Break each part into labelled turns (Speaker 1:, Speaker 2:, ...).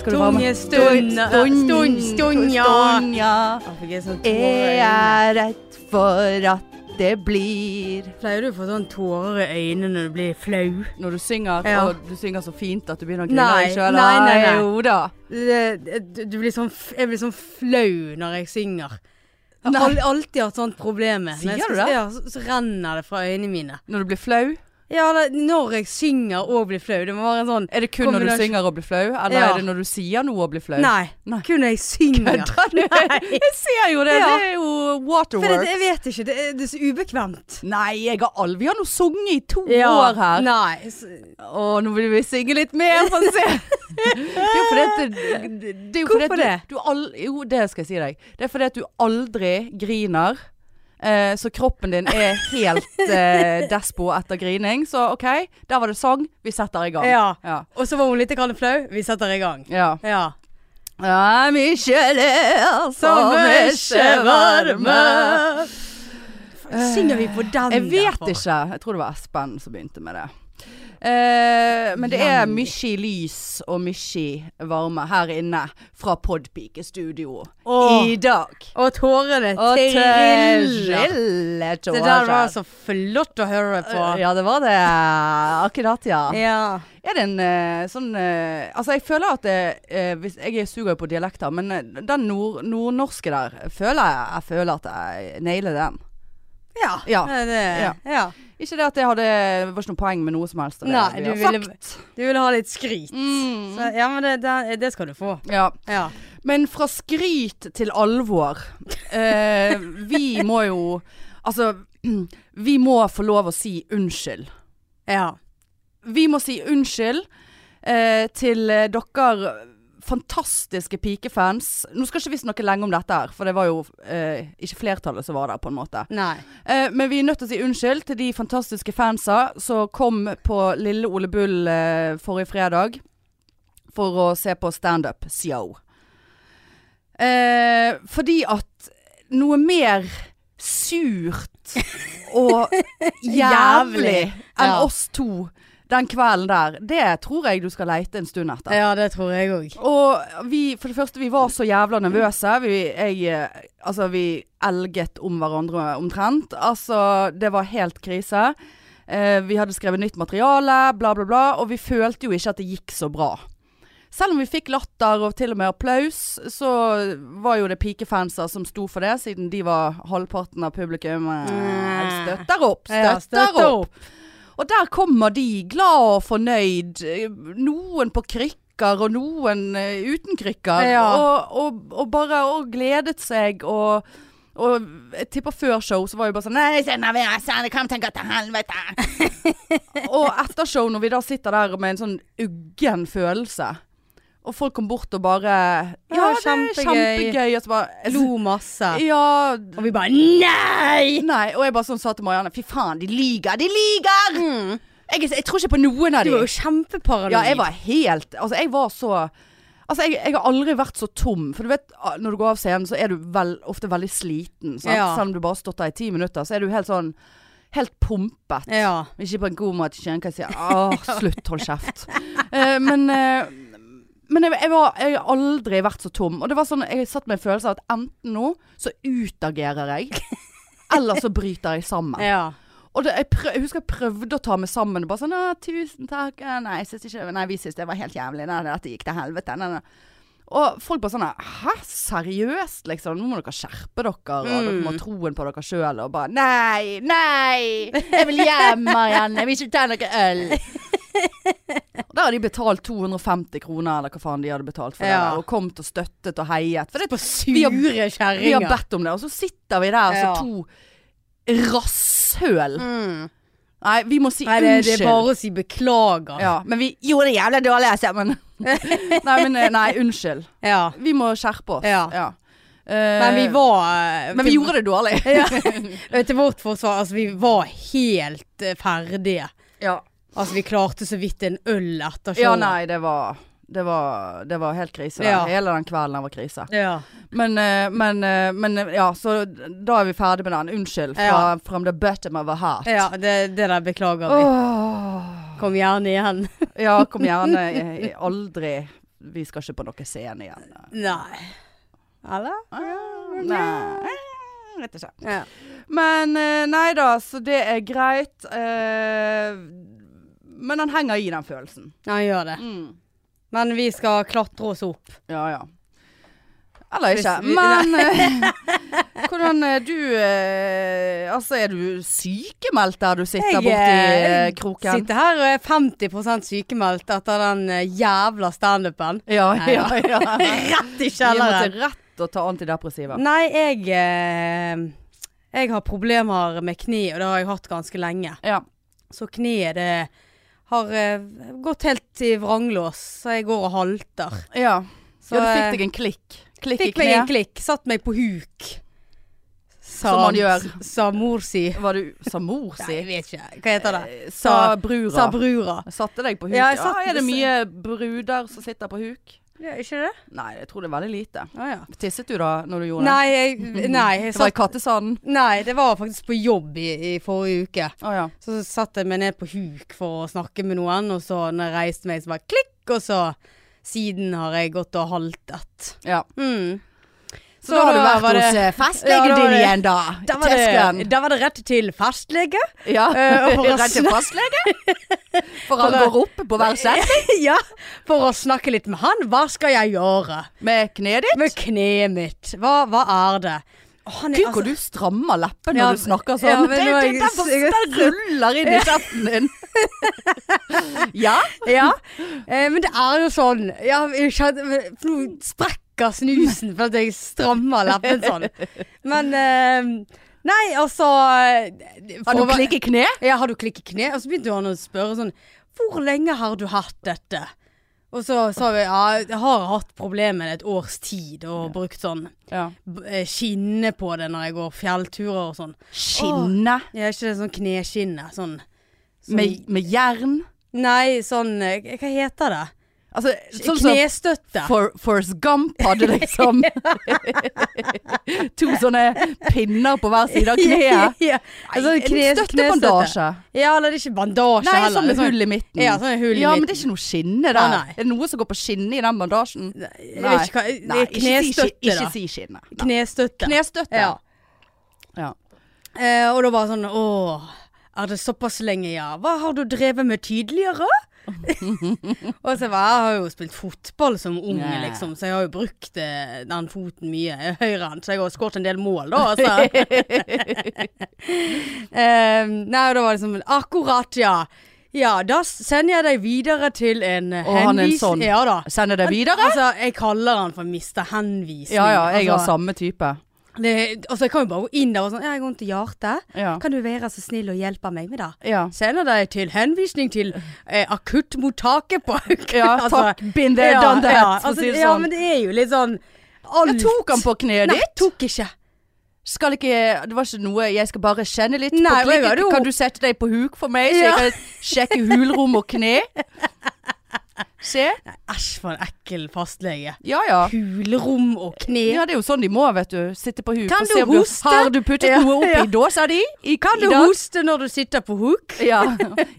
Speaker 1: Skal du være med?
Speaker 2: Stund, stund, stund, stund, ja.
Speaker 1: Stund, ja.
Speaker 2: Å, fikk jeg sånn tårer i
Speaker 1: Jeg
Speaker 2: øynene.
Speaker 1: er redd for at det blir
Speaker 2: Pleier du å få sånn tårer i øynene når du blir flau?
Speaker 1: Når du synger,
Speaker 2: Ja.
Speaker 1: og du synger så fint at du begynner å grine
Speaker 2: Nei,
Speaker 1: deg sjøl.
Speaker 2: nei, nei, nei.
Speaker 1: Jo da.
Speaker 2: Det- Du du blir sånn, f- jeg blir sånn flau når jeg synger. Jeg
Speaker 1: Nei.
Speaker 2: har al- alltid hatt sånt problem med. Når jeg
Speaker 1: Sier du
Speaker 2: skal-
Speaker 1: det?
Speaker 2: Ja, så, så renner det fra øynene mine.
Speaker 1: Når du blir flau?
Speaker 2: Ja, det, når jeg synger og blir flau, det må være en sånn
Speaker 1: Er det kun når du
Speaker 2: Kombinasjon-
Speaker 1: synger og blir flau, eller
Speaker 2: Ja.
Speaker 1: er det når du sier noe og blir flau?
Speaker 2: Nei,
Speaker 1: Nei.
Speaker 2: kun når jeg synger. Nei.
Speaker 1: Jeg ser jo det!
Speaker 2: Ja.
Speaker 1: Det er jo
Speaker 2: For det,
Speaker 1: waterwork.
Speaker 2: jeg vet ikke, det, er- det er så ubekvemt.
Speaker 1: Nei, jeg har all... vi har nå sunget i to år her.
Speaker 2: Nei. s-
Speaker 1: Å, nå vil vi synge litt mer, få se. Det er jo fordi at det, det er jo fordi at
Speaker 2: Hvorfor det?
Speaker 1: Du, du al jo, det skal jeg si deg. Det er fordi at du aldri griner. Eh, så kroppen din er helt eh, despo etter grining. Så OK, der var det sang. Vi setter i gang.
Speaker 2: Ja.
Speaker 1: Ja.
Speaker 2: Og så var hun litt grann flau. Vi setter i gang.
Speaker 1: ja.
Speaker 2: Ja.
Speaker 1: Ja, mykje ler, så mykje varme.
Speaker 2: Synger vi på den?
Speaker 1: Jeg vet
Speaker 2: derfor?
Speaker 1: ikke. Jeg tror det var Espen som begynte med det. Eh, men det er mye lys og mye varme her inne fra Podpikestudio
Speaker 2: Åh.
Speaker 1: i dag.
Speaker 2: Og tårene
Speaker 1: Og
Speaker 2: triller. Det der var så flott å høre på.
Speaker 1: Ja, det var det. Akkurat, ja.
Speaker 2: Ja.
Speaker 1: Er det en eh, sånn eh, Altså, jeg føler at det, eh, hvis, Jeg er suger på dialekter, men eh, den nord, nordnorske der føler jeg, jeg føler at jeg nailer den.
Speaker 2: Ja.
Speaker 1: Ja.
Speaker 2: Nei, Det,
Speaker 1: Ja.
Speaker 2: ja.
Speaker 1: Ikke det at jeg hadde Det var ikke noe poeng med noe som helst. av det
Speaker 2: Nei,
Speaker 1: vi
Speaker 2: du
Speaker 1: har
Speaker 2: ville,
Speaker 1: sagt.
Speaker 2: du ville ha litt skryt.
Speaker 1: Mm.
Speaker 2: Så, ja, men det, det, det skal du få.
Speaker 1: Ja.
Speaker 2: Ja.
Speaker 1: Men fra skryt til alvor. Eh, vi må jo Altså, vi må få lov å si unnskyld.
Speaker 2: ja.
Speaker 1: Vi må si unnskyld eh, til eh, dere fantastiske pikefans. Nå skal ikke vi snakke lenge om dette her, for det var jo eh, ikke flertallet som var der, på en måte.
Speaker 2: Nei.
Speaker 1: Eh, men vi er nødt til å si unnskyld til de fantastiske fansa som kom på Lille Ole Bull eh, forrige fredag for å se på standup-show. Eh, fordi at noe mer surt og jævlig
Speaker 2: Jævlig.
Speaker 1: enn
Speaker 2: Ja.
Speaker 1: oss to den kvelden der, det tror jeg du skal leite en stund etter.
Speaker 2: Ja, det tror jeg òg.
Speaker 1: Og vi, for det første, vi var så jævla nervøse. Vi, jeg, eh, altså, vi elget om hverandre omtrent. Altså, det var helt krise. Eh, vi hadde skrevet nytt materiale, bla, bla, bla. Og vi følte jo ikke at det gikk så bra. Selv om vi fikk latter og til og med applaus, så var jo det pikefanser som sto for det, siden de var halvparten av publikum. Eh,
Speaker 2: Mm.
Speaker 1: Støtter opp, støtter,
Speaker 2: Ja, støtter
Speaker 1: opp. Og der kommer de, glad og fornøyd. eh, Noen på krykker og noen eh, uten krykker.
Speaker 2: Ja.
Speaker 1: Og, og, og bare og gledet seg og og jeg tipper før show så var jeg bare sånn Nei, så nervøs, det kan tenke til helvete. og etter show, når vi da sitter der med en sånn uggen følelse, og folk kom bort og bare Ja,
Speaker 2: Ja,
Speaker 1: det er
Speaker 2: kjempegøy.
Speaker 1: kjempegøy. Og så bare
Speaker 2: Lo masse.
Speaker 1: Ja.
Speaker 2: Og vi bare nei!
Speaker 1: Nei. Og jeg bare sånn sa til Marianne Fy faen, de lyver, de lyver!
Speaker 2: Mm.
Speaker 1: Jeg, jeg tror ikke på noen av
Speaker 2: Du
Speaker 1: dem.
Speaker 2: var jo kjempeparanoid.
Speaker 1: Ja, jeg var helt Altså, jeg var så Altså, jeg, jeg har aldri vært så tom. For du vet, ah, når du går av scenen, så er du vel, ofte veldig sliten. Sant?
Speaker 2: Ja.
Speaker 1: Selv om du bare har stått der i ti minutter, så er du helt sånn Helt pumpet.
Speaker 2: Ja.
Speaker 1: Ikke på en god måte. Kjenner hva jeg sier. Åh, slutt, hold kjeft. Eh, men eh, men jeg, jeg, var, jeg har aldri vært så tom. Og det var sånn, jeg satt med en følelse av at enten nå så utagerer jeg, eller så bryter jeg sammen.
Speaker 2: ja.
Speaker 1: Og det, jeg, prøv, jeg husker jeg prøvde å ta meg sammen. Bare sånn «Å, 'Tusen takk. eh, Nei, jeg synes ikke, nei, vi syns det var helt jævlig. Nei, dette gikk til helvete.' Nei, nei. Og folk bare sånn 'Hæ, seriøst?' liksom. 'Nå må dere skjerpe dere, og dere
Speaker 2: Mm.
Speaker 1: må ha troen på dere sjøl.' Og bare 'Nei, nei! Jeg vil hjem, Marianne. Jeg vil ikke ta noe øl.' Og Der har de betalt 250 kroner, eller hva faen de hadde betalt for det.
Speaker 2: Ja.
Speaker 1: der, Og kommet og støttet og heiet. For det,
Speaker 2: På
Speaker 1: Vi har-
Speaker 2: sure
Speaker 1: vi har
Speaker 2: kjerringer.
Speaker 1: bedt om det, og så sitter vi der som
Speaker 2: Ja.
Speaker 1: to rasshøl.
Speaker 2: Mm.
Speaker 1: Nei, vi må si
Speaker 2: Nei, det, det
Speaker 1: unnskyld.
Speaker 2: er bare å si beklager.
Speaker 1: ja, men vi gjorde det jævla dårlig, altså. Men nei, men eh, nei, unnskyld.
Speaker 2: Ja.
Speaker 1: Vi må skjerpe oss.
Speaker 2: Ja.
Speaker 1: Eh,
Speaker 2: Men vi var
Speaker 1: men vi gjorde det dårlig.
Speaker 2: det Til vårt forsvar, altså vi var helt eh, ferdige.
Speaker 1: ja.
Speaker 2: Altså vi klarte så vidt en øl etter
Speaker 1: ja,
Speaker 2: showet.
Speaker 1: nei, det var det var, det var helt krise. der.
Speaker 2: Ja.
Speaker 1: Hele den kvelden var krise.
Speaker 2: Ja.
Speaker 1: Men, eh, men, eh, men eh, ja, så da er vi ferdig med den. Unnskyld fra,
Speaker 2: Ja.
Speaker 1: from the bottom of our heart.
Speaker 2: ja det, det der beklager vi.
Speaker 1: Åh.
Speaker 2: Kom gjerne igjen.
Speaker 1: Ja, kom gjerne. eh, Aldri vi skal ikke på noe scene igjen.
Speaker 2: Nei. Eller?
Speaker 1: Ah, Nei, rett og slett.
Speaker 2: Ja.
Speaker 1: Men eh, nei da, så det er greit. eh, Men han henger i den følelsen. Mm.
Speaker 2: Han gjør det. Men vi skal klatre oss opp.
Speaker 1: Ja, ja. Eller ikke.
Speaker 2: Hvis vi-
Speaker 1: Men eh, hvordan er du eh, Altså, er du sykemeldt der du sitter
Speaker 2: Jeg,
Speaker 1: borti eh,
Speaker 2: eh,
Speaker 1: kroken?
Speaker 2: Sitter her og er 50 sykemeldt etter den eh, jævla standupen.
Speaker 1: Ja,
Speaker 2: Nei,
Speaker 1: ja, ja.
Speaker 2: Rett i
Speaker 1: Vi måtte
Speaker 2: kjelleren.
Speaker 1: rett og ta antidepressiva.
Speaker 2: Nei, jeg eh, Jeg har problemer med kni, og det har jeg hatt ganske lenge.
Speaker 1: Ja.
Speaker 2: Så kneet det har eh, gått helt i vranglås, så jeg går og halter.
Speaker 1: ja.
Speaker 2: Så,
Speaker 1: Ja, du
Speaker 2: eh,
Speaker 1: fikk deg en klikk. Klikk i
Speaker 2: Fikk meg en
Speaker 1: kneet.
Speaker 2: klikk. Satt meg på huk. Sa,
Speaker 1: Som man gjør.
Speaker 2: Sa mor si.
Speaker 1: Var du sa mor
Speaker 2: Nei,
Speaker 1: si?
Speaker 2: jeg vet ikke. Hva heter det?
Speaker 1: Eh,
Speaker 2: Sa-
Speaker 1: Sa brura.
Speaker 2: Sa brura.
Speaker 1: Satte deg på huk.
Speaker 2: Ja,
Speaker 1: Ja,
Speaker 2: jeg satte-
Speaker 1: er det mye bruder som sitter på huk?
Speaker 2: Ja, ikke det?
Speaker 1: Nei, jeg tror det er veldig lite.
Speaker 2: Å ja.
Speaker 1: Tisset du da når du gjorde
Speaker 2: Nei, jeg, nei,
Speaker 1: det? Det
Speaker 2: jeg
Speaker 1: var i
Speaker 2: satt,
Speaker 1: kattesanden?
Speaker 2: nei, det var faktisk på jobb i, i forrige uke.
Speaker 1: Å ja.
Speaker 2: Så satt jeg meg ned på huk for å snakke med noen, og så når jeg reiste meg, så bare klikk, og så Siden har jeg gått og haltet.
Speaker 1: ja.
Speaker 2: Mm.
Speaker 1: Så, da har du vært
Speaker 2: var det-
Speaker 1: hos eh,
Speaker 2: Ja,
Speaker 1: fastlegen
Speaker 2: da var
Speaker 1: din
Speaker 2: det-
Speaker 1: igjen, da?
Speaker 2: Da var, det,
Speaker 1: Terskelen.
Speaker 2: da var det rett til fastlege.
Speaker 1: Ja.
Speaker 2: Eh, og for å
Speaker 1: Redd til
Speaker 2: snak-
Speaker 1: fastlege? For han
Speaker 2: For å-
Speaker 1: går opp på hver sett
Speaker 2: ja, for å snakke litt med han. Hva skal jeg gjøre?
Speaker 1: med kneet ditt?
Speaker 2: Med kneet mitt. Hva, hva er det? Å, han
Speaker 1: Gud, hvor du strammer leppen når
Speaker 2: altså- Ja,
Speaker 1: du snakker sånn.
Speaker 2: ja, men
Speaker 1: det,
Speaker 2: nå er
Speaker 1: det,
Speaker 2: jeg-
Speaker 1: det, det, ruller inn i kjeften din. ja.
Speaker 2: Ja, eh, men det er jo sånn. Ja, jeg kjente, men nå sprekker snusen for at jeg strammer leppen sånn. Men eh, Nei, altså eh,
Speaker 1: Har
Speaker 2: for å
Speaker 1: du
Speaker 2: være-
Speaker 1: klikk i kne?
Speaker 2: Ja, har du klikket kne? Og så begynte han å spørre sånn Hvor lenge har du hatt dette? Og så sa vi ja, jeg har hatt problemer et års tid og brukt sånn
Speaker 1: Ja.
Speaker 2: b- eh, skinne på det når jeg går fjellturer og sånn.
Speaker 1: Skinne
Speaker 2: Ja, er ikke det sånn kneskinne? Sånn som-
Speaker 1: med, med jern?
Speaker 2: Nei, sånn eh, Hva heter det?
Speaker 1: Altså, sånn som
Speaker 2: Knestøtte.
Speaker 1: For, Forrest Gump hadde liksom To sånne pinner på hver side av kneet.
Speaker 2: Ja, altså,
Speaker 1: En sånn
Speaker 2: kne, knestøtte.
Speaker 1: Støttebandasje.
Speaker 2: Ja, eller det er ikke bandasje
Speaker 1: Nei,
Speaker 2: heller.
Speaker 1: sånn med
Speaker 2: det er
Speaker 1: hull i midten.
Speaker 2: Ja, sånn hull i
Speaker 1: Ja, men det
Speaker 2: midten.
Speaker 1: er ikke noe skinne
Speaker 2: Å,
Speaker 1: der.
Speaker 2: nei.
Speaker 1: Er det noe som går på skinne i den bandasjen?
Speaker 2: Jeg vet ikke hva det er
Speaker 1: Nei, ikke si,
Speaker 2: Knestøtte,
Speaker 1: skin- ikke
Speaker 2: da.
Speaker 1: si skinne. Nei.
Speaker 2: Knestøtte.
Speaker 1: Knestøtte.
Speaker 2: Ja.
Speaker 1: Ja.
Speaker 2: Eh, og da var det sånn Å, er det såpass lenge, ja? Hva har du drevet med tidligere? og så var jeg har jo spilt fotball som ung,
Speaker 1: Nei.
Speaker 2: liksom, så jeg har jo brukt eh, den foten mye. Jeg er høyrehånd, så jeg har skåret en del mål, da. Altså. eh, nei, og da var det sånn Akkurat, ja. Ja, da sender jeg deg videre til en eh,
Speaker 1: Og han er en
Speaker 2: henvis-
Speaker 1: sånn.
Speaker 2: Ja da.
Speaker 1: Sender det videre?
Speaker 2: Altså, jeg kaller han for Mr. Henvisning.
Speaker 1: Ja ja, jeg har
Speaker 2: altså,
Speaker 1: samme type.
Speaker 2: det, altså, jeg kan jo bare gå inn der og sånn Ja, jeg har vondt i hjertet.
Speaker 1: Ja.
Speaker 2: Kan du være så snill å hjelpe meg med det?
Speaker 1: ja.
Speaker 2: Sender deg til henvisning til eh, akuttmottaket på Altså, Hauk.
Speaker 1: Ja, takk. Been there, done that,
Speaker 2: Ja,
Speaker 1: for å
Speaker 2: altså,
Speaker 1: si det
Speaker 2: ja,
Speaker 1: sånn.
Speaker 2: men det er jo litt sånn alt.
Speaker 1: Jeg tok han på kneet
Speaker 2: Nei,
Speaker 1: ditt.
Speaker 2: tok ikke.
Speaker 1: Skal ikke Det var ikke noe Jeg skal bare kjenne litt
Speaker 2: Nei,
Speaker 1: på
Speaker 2: og jeg
Speaker 1: klikket.
Speaker 2: hadde jo-
Speaker 1: Kan du sette deg på huk for meg, så
Speaker 2: Ja.
Speaker 1: jeg kan sjekke hulrom og kne? Se.
Speaker 2: Nei, æsj, for en ekkel fastlege.
Speaker 1: Ja ja.
Speaker 2: Hulrom og kne.
Speaker 1: Ja, det er jo sånn de må, vet du. Sitte på huk
Speaker 2: Kan
Speaker 1: og
Speaker 2: du
Speaker 1: se om du
Speaker 2: hoste?
Speaker 1: Har du puttet
Speaker 2: Ja,
Speaker 1: noe opp
Speaker 2: ja.
Speaker 1: i dåsa di? I,
Speaker 2: kan
Speaker 1: i
Speaker 2: du
Speaker 1: dag?
Speaker 2: hoste når du sitter på hook?
Speaker 1: Ja.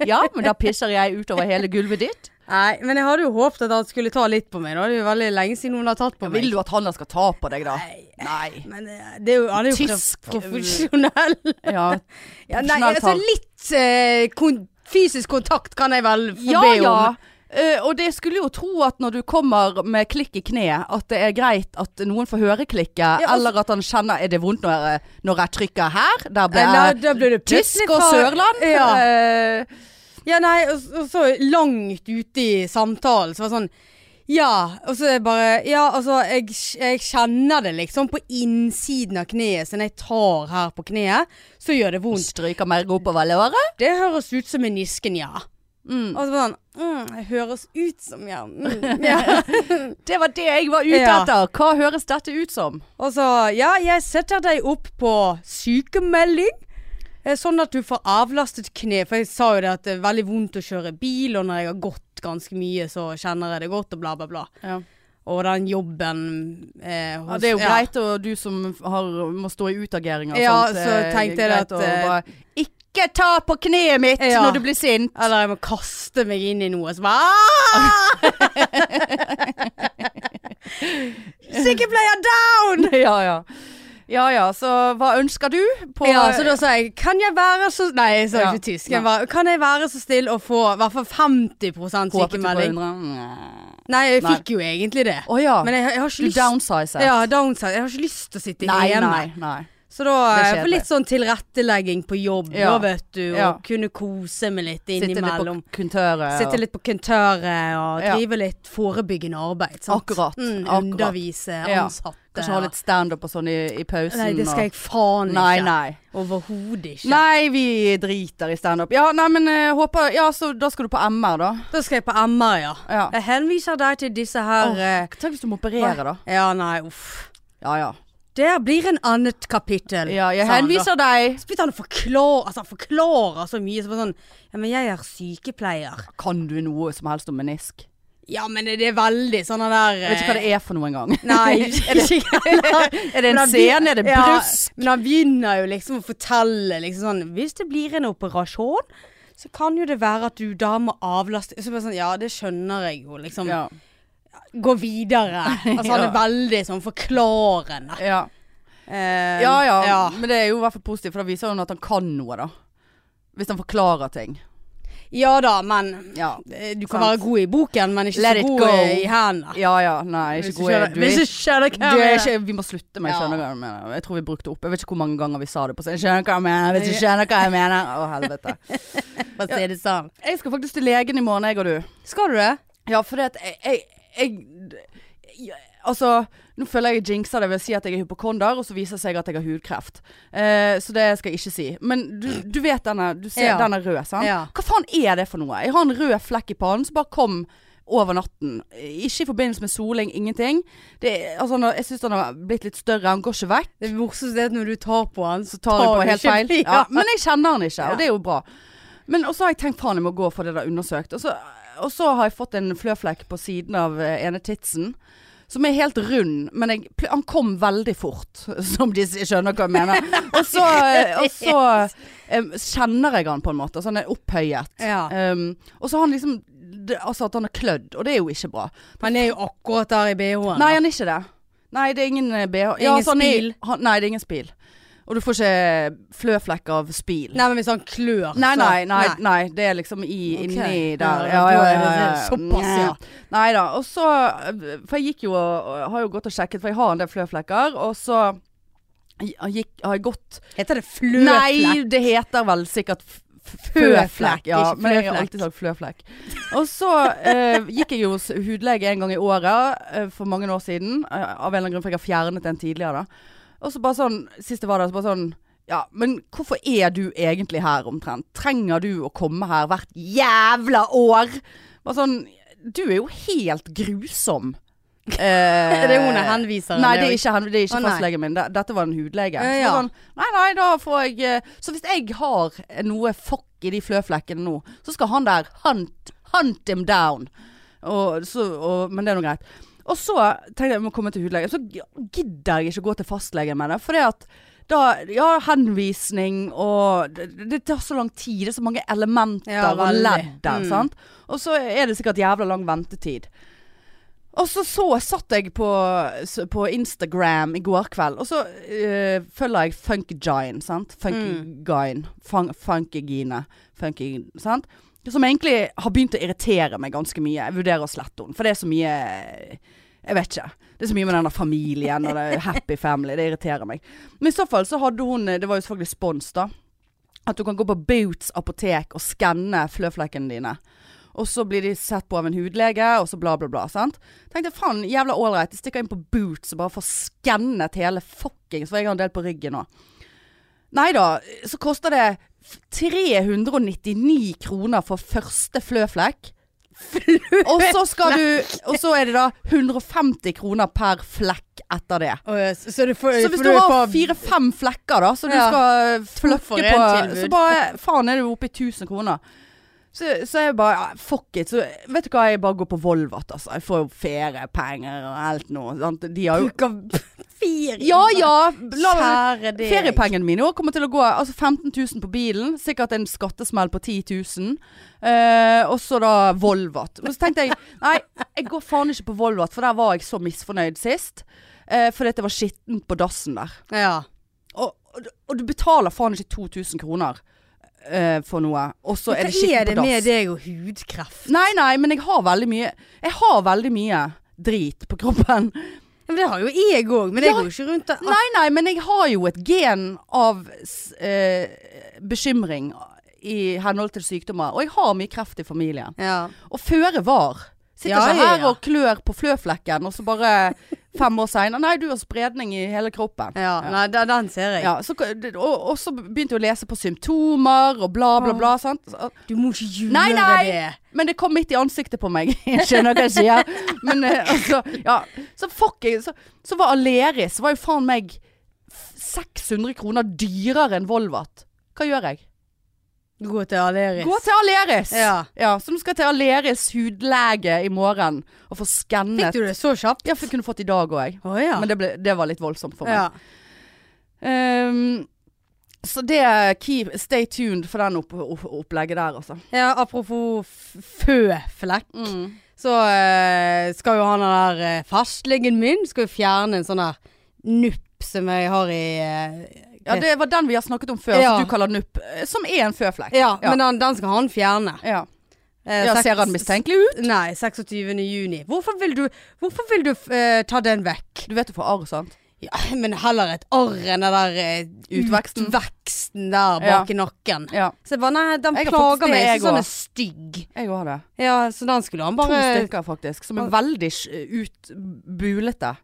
Speaker 1: ja, men da pisser jeg utover hele gulvet ditt.
Speaker 2: Nei, men jeg hadde jo håpet at han skulle ta litt på meg. Da. Det er jo veldig lenge siden noen har tatt på meg.
Speaker 1: Vil du at han da skal ta på deg, da?
Speaker 2: Nei.
Speaker 1: Nei.
Speaker 2: Men eh, det er jo, han er jo
Speaker 1: Tysk-
Speaker 2: prof- profesjonell.
Speaker 1: Ja,
Speaker 2: Ja, nei,
Speaker 1: Profesjonell
Speaker 2: altså
Speaker 1: tall.
Speaker 2: litt eh, kon fysisk kontakt kan jeg vel få
Speaker 1: ja.
Speaker 2: be om.
Speaker 1: ja. Eh, og det skulle jo tro at når du kommer med klikk i kneet, at det er greit at noen får høre klikket,
Speaker 2: altså-
Speaker 1: eller at han kjenner er det vondt når jeg, når jeg trykker her? Der ble
Speaker 2: Eller,
Speaker 1: jeg
Speaker 2: da blir det plutselig
Speaker 1: tysk og
Speaker 2: fra-
Speaker 1: sørland.
Speaker 2: Ja,
Speaker 1: Eh,
Speaker 2: ja nei, og, s- og så langt ute i samtalen, så var det sånn ja, og så er det bare Ja, altså, jeg, kj- jeg kjenner det liksom på innsiden av kneet. Så når jeg tar her på kneet, så gjør det vondt.
Speaker 1: stryker meg oppover låret.
Speaker 2: Det høres ut som menisken, ja.
Speaker 1: Mm.
Speaker 2: Og så bare sånn mm, Det høres ut som, ja. Mm, ja.
Speaker 1: Det var det jeg var ute
Speaker 2: Ja.
Speaker 1: etter. Hva høres dette ut som?
Speaker 2: Og så Ja, jeg setter deg opp på sykemelding. eh, Sånn at du får avlastet kne. For jeg sa jo det at det er veldig vondt å kjøre bil, og når jeg har gått ganske mye, så kjenner jeg det godt, og bla, bla, bla.
Speaker 1: Ja.
Speaker 2: Og den jobben eh, hos,
Speaker 1: det er jo greit, og du som har, må stå i utageringer og
Speaker 2: Ja,
Speaker 1: sånt.
Speaker 2: så
Speaker 1: eh,
Speaker 2: tenkte jeg
Speaker 1: greit
Speaker 2: at,
Speaker 1: å
Speaker 2: eh,
Speaker 1: bare ikke Ikke ta på kneet mitt
Speaker 2: Ja.
Speaker 1: når du blir sint!
Speaker 2: Eller jeg må kaste meg inn i noe "Ah!" som bare Sykepleier down!
Speaker 1: Ja ja. Ja ja, så hva ønsker du på
Speaker 2: ja, så da sa jeg Kan jeg være så Nei, jeg sa
Speaker 1: Ja.
Speaker 2: ikke tysk. Jeg bare, kan jeg være så snill å få i hvert fall 50
Speaker 1: Håpet du eh, på
Speaker 2: sykemelding?
Speaker 1: 100?
Speaker 2: Nei, jeg
Speaker 1: Nei.
Speaker 2: fikk jo egentlig det.
Speaker 1: Å ja.
Speaker 2: Men jeg, jeg har
Speaker 1: Du
Speaker 2: ikke lyst
Speaker 1: downsizer.
Speaker 2: Ja, downside. Jeg har ikke lyst til å sitte
Speaker 1: nei,
Speaker 2: hjemme.
Speaker 1: nei, nei.
Speaker 2: Så da
Speaker 1: Det er
Speaker 2: eh, for litt sånn tilrettelegging på jobb,
Speaker 1: Ja.
Speaker 2: da, vet du. Og
Speaker 1: Ja.
Speaker 2: kunne kose meg litt
Speaker 1: Sitte litt på
Speaker 2: innimellom.
Speaker 1: kontøret.
Speaker 2: Sitte litt på kontøret og
Speaker 1: Ja.
Speaker 2: drive litt forebyggende arbeid. Sant?
Speaker 1: Akkurat,
Speaker 2: Mm,
Speaker 1: akkurat.
Speaker 2: Undervise
Speaker 1: Ja.
Speaker 2: ansatte.
Speaker 1: Kanskje ha litt standup og sånn i, i pausen.
Speaker 2: Nei, det skal
Speaker 1: og-
Speaker 2: jeg faen
Speaker 1: Nei,
Speaker 2: ikke.
Speaker 1: nei.
Speaker 2: Overhodet ikke.
Speaker 1: Nei, vi driter i standup. Ja, nei, men eh, håper Ja, så da skal du på MR, da.
Speaker 2: Da skal jeg på MR, ja.
Speaker 1: Ja.
Speaker 2: Jeg henviser deg til disse her eh,
Speaker 1: Tenk hvis du må operere, da.
Speaker 2: Ja, nei, uff.
Speaker 1: Ja, ja.
Speaker 2: Det blir en annet kapittel.
Speaker 1: ja jeg
Speaker 2: sa han da.
Speaker 1: henviser deg.
Speaker 2: Så begynte han å forklare, altså, han forklarer så mye. Så bare sånn Ja, men jeg er sykepleier.
Speaker 1: Kan du noe som helst om menisk?
Speaker 2: Ja, men er det er veldig sånn han der
Speaker 1: Jeg vet ikke hva det er for noe engang.
Speaker 2: Nei, ikke
Speaker 1: er det en scene? Er det bryst?
Speaker 2: Ja, men han begynner jo liksom å fortelle liksom sånn Hvis det blir en operasjon, så kan jo det være at du da må avlaste Så bare sånn Ja, det skjønner jeg jo, liksom.
Speaker 1: Ja.
Speaker 2: Gå videre. Altså han
Speaker 1: Ja.
Speaker 2: er veldig sånn forklarende.
Speaker 1: Ja.
Speaker 2: Eh,
Speaker 1: ja ja,
Speaker 2: ja.
Speaker 1: men det er jo i hvert fall positivt, for da viser han at han kan noe, da. Hvis han forklarer ting.
Speaker 2: Ja da, men
Speaker 1: Ja
Speaker 2: eh, Du
Speaker 1: Sant.
Speaker 2: kan være god i boken, men ikke
Speaker 1: Let it
Speaker 2: så god
Speaker 1: go.
Speaker 2: eh, i hendene.
Speaker 1: ja, ja nei,
Speaker 2: Hvis
Speaker 1: ikke
Speaker 2: du
Speaker 1: god du
Speaker 2: skjønner-
Speaker 1: er
Speaker 2: hvis du
Speaker 1: ikke-
Speaker 2: skjønner hva
Speaker 1: du er
Speaker 2: jeg mener.
Speaker 1: ikke, vi må slutte med jeg
Speaker 2: Ja.
Speaker 1: skjønner hva jeg mener. Jeg tror vi brukte opp Jeg vet ikke hvor mange ganger vi sa det på sånn. Jeg skjønner hva jeg mener, hvis du skjønner hva jeg mener. Å, helvete.
Speaker 2: For å si det sånn.
Speaker 1: Jeg skal faktisk til legen i morgen, jeg og du.
Speaker 2: Skal du det?
Speaker 1: Ja, fordi at jeg, jeg, jeg, jeg Altså, nå føler jeg jeg jinxer det ved å si at jeg er hypokonder, og så viser det seg at jeg har hudkreft. Eh, så det skal jeg ikke si. Men du, du vet denne Du ser
Speaker 2: Ja.
Speaker 1: den er rød, sant?
Speaker 2: Ja.
Speaker 1: Hva faen er det for noe? Jeg har en rød flekk i pannen som bare kom over natten. Ikke i forbindelse med soling, ingenting. Det, altså, nå- jeg syns den har blitt litt større, han går ikke vekk.
Speaker 2: Det morsomste er at når du tar på han, så
Speaker 1: tar jeg på helt
Speaker 2: ikke
Speaker 1: feil.
Speaker 2: fri.
Speaker 1: Ja, men jeg kjenner han ikke,
Speaker 2: Ja.
Speaker 1: og det er jo bra. Men også har jeg tenkt faen, jeg må gå og få det der undersøkt. Og så, og så har jeg fått en fløflekk på siden av eh, ene titsen. Som er helt rund, men jeg, pl- han kom veldig fort, som de s- skjønner hva jeg mener. Og så, og så eh, kjenner jeg han på en måte, så han er opphøyet.
Speaker 2: Ja.
Speaker 1: Um, og så har han liksom det, Altså at han har klødd, og det er jo ikke bra.
Speaker 2: Han er jo akkurat der i BH-en.
Speaker 1: Nei, han er ikke det. Nei, det er ingen eh, BH.
Speaker 2: Ingen
Speaker 1: altså, han er-
Speaker 2: spil?
Speaker 1: Han, nei, det er ingen spil. Og du får ikke eh, fløflekk av spil.
Speaker 2: Nei, men hvis han klør,
Speaker 1: Nei,
Speaker 2: så-
Speaker 1: nei, nei, nei, det er liksom i,
Speaker 2: Ok.
Speaker 1: inni
Speaker 2: Ja,
Speaker 1: der.
Speaker 2: da er det såpass, ja.
Speaker 1: Nei da. Og så eh, For jeg gikk jo og og har jo gått og sjekket, for jeg har en del fløflekker, og så gikk, har jeg gått
Speaker 2: Heter det
Speaker 1: Nei,
Speaker 2: fløflekk?
Speaker 1: det heter vel sikkert f- f-
Speaker 2: Føflekk,
Speaker 1: føflekk. Ja,
Speaker 2: ikke
Speaker 1: men jeg har
Speaker 2: fløflekk.
Speaker 1: alltid sagt fløflekk. Og så eh, gikk jeg jo hos hudlege en gang i året eh, for mange år siden. eh, av en eller annen grunn, for jeg har fjernet den tidligere. da. Og så bare sånn, sist jeg var der, så bare sånn ja, men hvorfor er du egentlig her omtrent? Trenger du å komme her hvert jævla år? Bare sånn, du er jo helt grusom. Eh,
Speaker 2: Er det hun er henviser?
Speaker 1: Nei, det er ikke, han, det er ikke
Speaker 2: Å, nei.
Speaker 1: fastlegen min. Det- Dette var en hudlege.
Speaker 2: Ja,
Speaker 1: Så det
Speaker 2: ja.
Speaker 1: var Sånn, nei, nei, da får jeg eh, Så hvis jeg har eh, noe fuck i de fløflekkene nå, så skal han der hunt, hunt him down. Og, så, og, men det er nå greit. Og så tenkte jeg jeg må komme til hudlegen. Så g- gidder jeg ikke gå til fastlegen med det. For det at da, ja, henvisning og det, det tar så lang tid. Det er så mange elementer
Speaker 2: Ja,
Speaker 1: og
Speaker 2: veldig.
Speaker 1: ledd der.
Speaker 2: Mm.
Speaker 1: Sant? Og så er det sikkert jævla lang ventetid. Og så, så satt jeg på, s- på Instagram i går kveld, og så eh, følger jeg Funkygine, sant? Funkygine. Fun, Funkygine. Funky, sant? Som egentlig har begynt å irritere meg ganske mye. Jeg vurderer å slette henne, for det er så mye Jeg vet ikke. Det er så mye med denne familien og det happy family. Det irriterer meg. Men i så fall så hadde hun Det var jo selvfølgelig spons, da. At du kan gå på Boots apotek og skanne fløflekkene dine. Og så blir de sett på av en hudlege, og så bla, bla, bla. sant? Tenkte faen, jævla ålreit. Jeg stikker inn på Boots og bare får skannet hele fuckings For jeg har en del på ryggen nå. Nei da, så koster det f- 399 kroner for første fløflekk. Og så skal du Og så er det da 150 kroner per flekk etter det.
Speaker 2: så, så, du får,
Speaker 1: Så hvis du har fire-fem flekker da, så du
Speaker 2: Ja.
Speaker 1: skal
Speaker 2: for
Speaker 1: flukke
Speaker 2: en
Speaker 1: på,
Speaker 2: tilbud.
Speaker 1: så bare faen er du oppe i 1000 kroner. Så, så jeg bare ja, fuck it. Så vet du hva, jeg bare går på Volvat, altså. Jeg får jo feriepenger og alt nå. Sant? De har jo
Speaker 2: Bruker ferie.
Speaker 1: Ja ja! La,
Speaker 2: Kjære deg.
Speaker 1: feriepengene mine i år kommer til å gå altså 15 000 på bilen. Sikkert en skattesmell på 10 000. Eh, og så da Volvat. Men så tenkte jeg nei, jeg går faen ikke på Volvat, for der var jeg så misfornøyd sist. Eh, fordi at det var skittent på dassen der.
Speaker 2: Ja.
Speaker 1: Og, og, og du betaler faen ikke 2000 kroner eh, for noe, og så er det
Speaker 2: Hva er
Speaker 1: skittent
Speaker 2: det
Speaker 1: på
Speaker 2: med
Speaker 1: dass.
Speaker 2: deg og hudkreft?
Speaker 1: Nei, nei, men jeg har veldig mye Jeg har veldig mye drit på kroppen.
Speaker 2: Ja, Men det har jo jeg òg, men jeg
Speaker 1: Ja.
Speaker 2: går jo ikke rundt og
Speaker 1: Nei, nei, men jeg har jo et gen av s- eh, bekymring i henhold til sykdommer. Og jeg har mye kreft i familien.
Speaker 2: ja.
Speaker 1: Og føre var. Sitter
Speaker 2: Ja,
Speaker 1: ikke
Speaker 2: ja,
Speaker 1: her
Speaker 2: ja.
Speaker 1: og klør på fløflekken, og så bare fem år seinere Nei, du har spredning i hele kroppen.
Speaker 2: ja. Nei, den- den ser jeg.
Speaker 1: Ja, så, og, og så begynte jeg å lese på symptomer og bla, bla, bla.
Speaker 2: Ah.
Speaker 1: Sant? Så-
Speaker 2: Du må ikke gjøre
Speaker 1: Nei, nei.
Speaker 2: det.
Speaker 1: Men det kom midt i ansiktet på meg. Jeg skjønner hva jeg sier. Men eh, altså, ja. Så fuck jeg. Så, så var Aleris var jo faen meg f- 600 kroner dyrere enn Volvat. Hva gjør jeg?
Speaker 2: Gå til Aleris.
Speaker 1: Gå til Aleris!
Speaker 2: Ja.
Speaker 1: Så du skal til Aleris hudlege i morgen og få
Speaker 2: Fikk
Speaker 1: skannet.
Speaker 2: du det så kjapt?
Speaker 1: Ja, for jeg kunne fått i dag òg, jeg.
Speaker 2: Å ja.
Speaker 1: Men det, ble, det var litt voldsomt for meg.
Speaker 2: ja.
Speaker 1: Ehm, så det keep, Stay tuned for den opp, opp, opplegget der, altså.
Speaker 2: ja, apropos f- føflekk.
Speaker 1: Mm.
Speaker 2: Så eh, skal jo han der eh, fastlegen min skal jo fjerne en sånn der nupp som jeg har i eh,
Speaker 1: Ja, det var den vi har snakket om før,
Speaker 2: Ja.
Speaker 1: som du kaller nupp. eh, Som er en føflekk.
Speaker 2: ja, men den, den skal han fjerne.
Speaker 1: Ja.
Speaker 2: Eh,
Speaker 1: Ja,
Speaker 2: seks-
Speaker 1: ser han mistenkelig ut?
Speaker 2: Nei, 26. juni. Hvorfor vil du, hvorfor vil du eh, ta den vekk?
Speaker 1: Du vet du får arr, sant?
Speaker 2: Ja, men heller et arr enn den der eh,
Speaker 1: Utveksten.
Speaker 2: utveksten der
Speaker 1: Ja.
Speaker 2: bak i nakken.
Speaker 1: Ja,
Speaker 2: Så jeg bare, nei, den
Speaker 1: Jeg har faktisk
Speaker 2: plager
Speaker 1: det,
Speaker 2: meg. Jeg
Speaker 1: jeg
Speaker 2: synes
Speaker 1: også.
Speaker 2: den er stygg.
Speaker 1: jeg òg har det.
Speaker 2: Ja, så den skulle han
Speaker 1: To
Speaker 2: bare
Speaker 1: stykker faktisk, som er veldig sj- utbulete.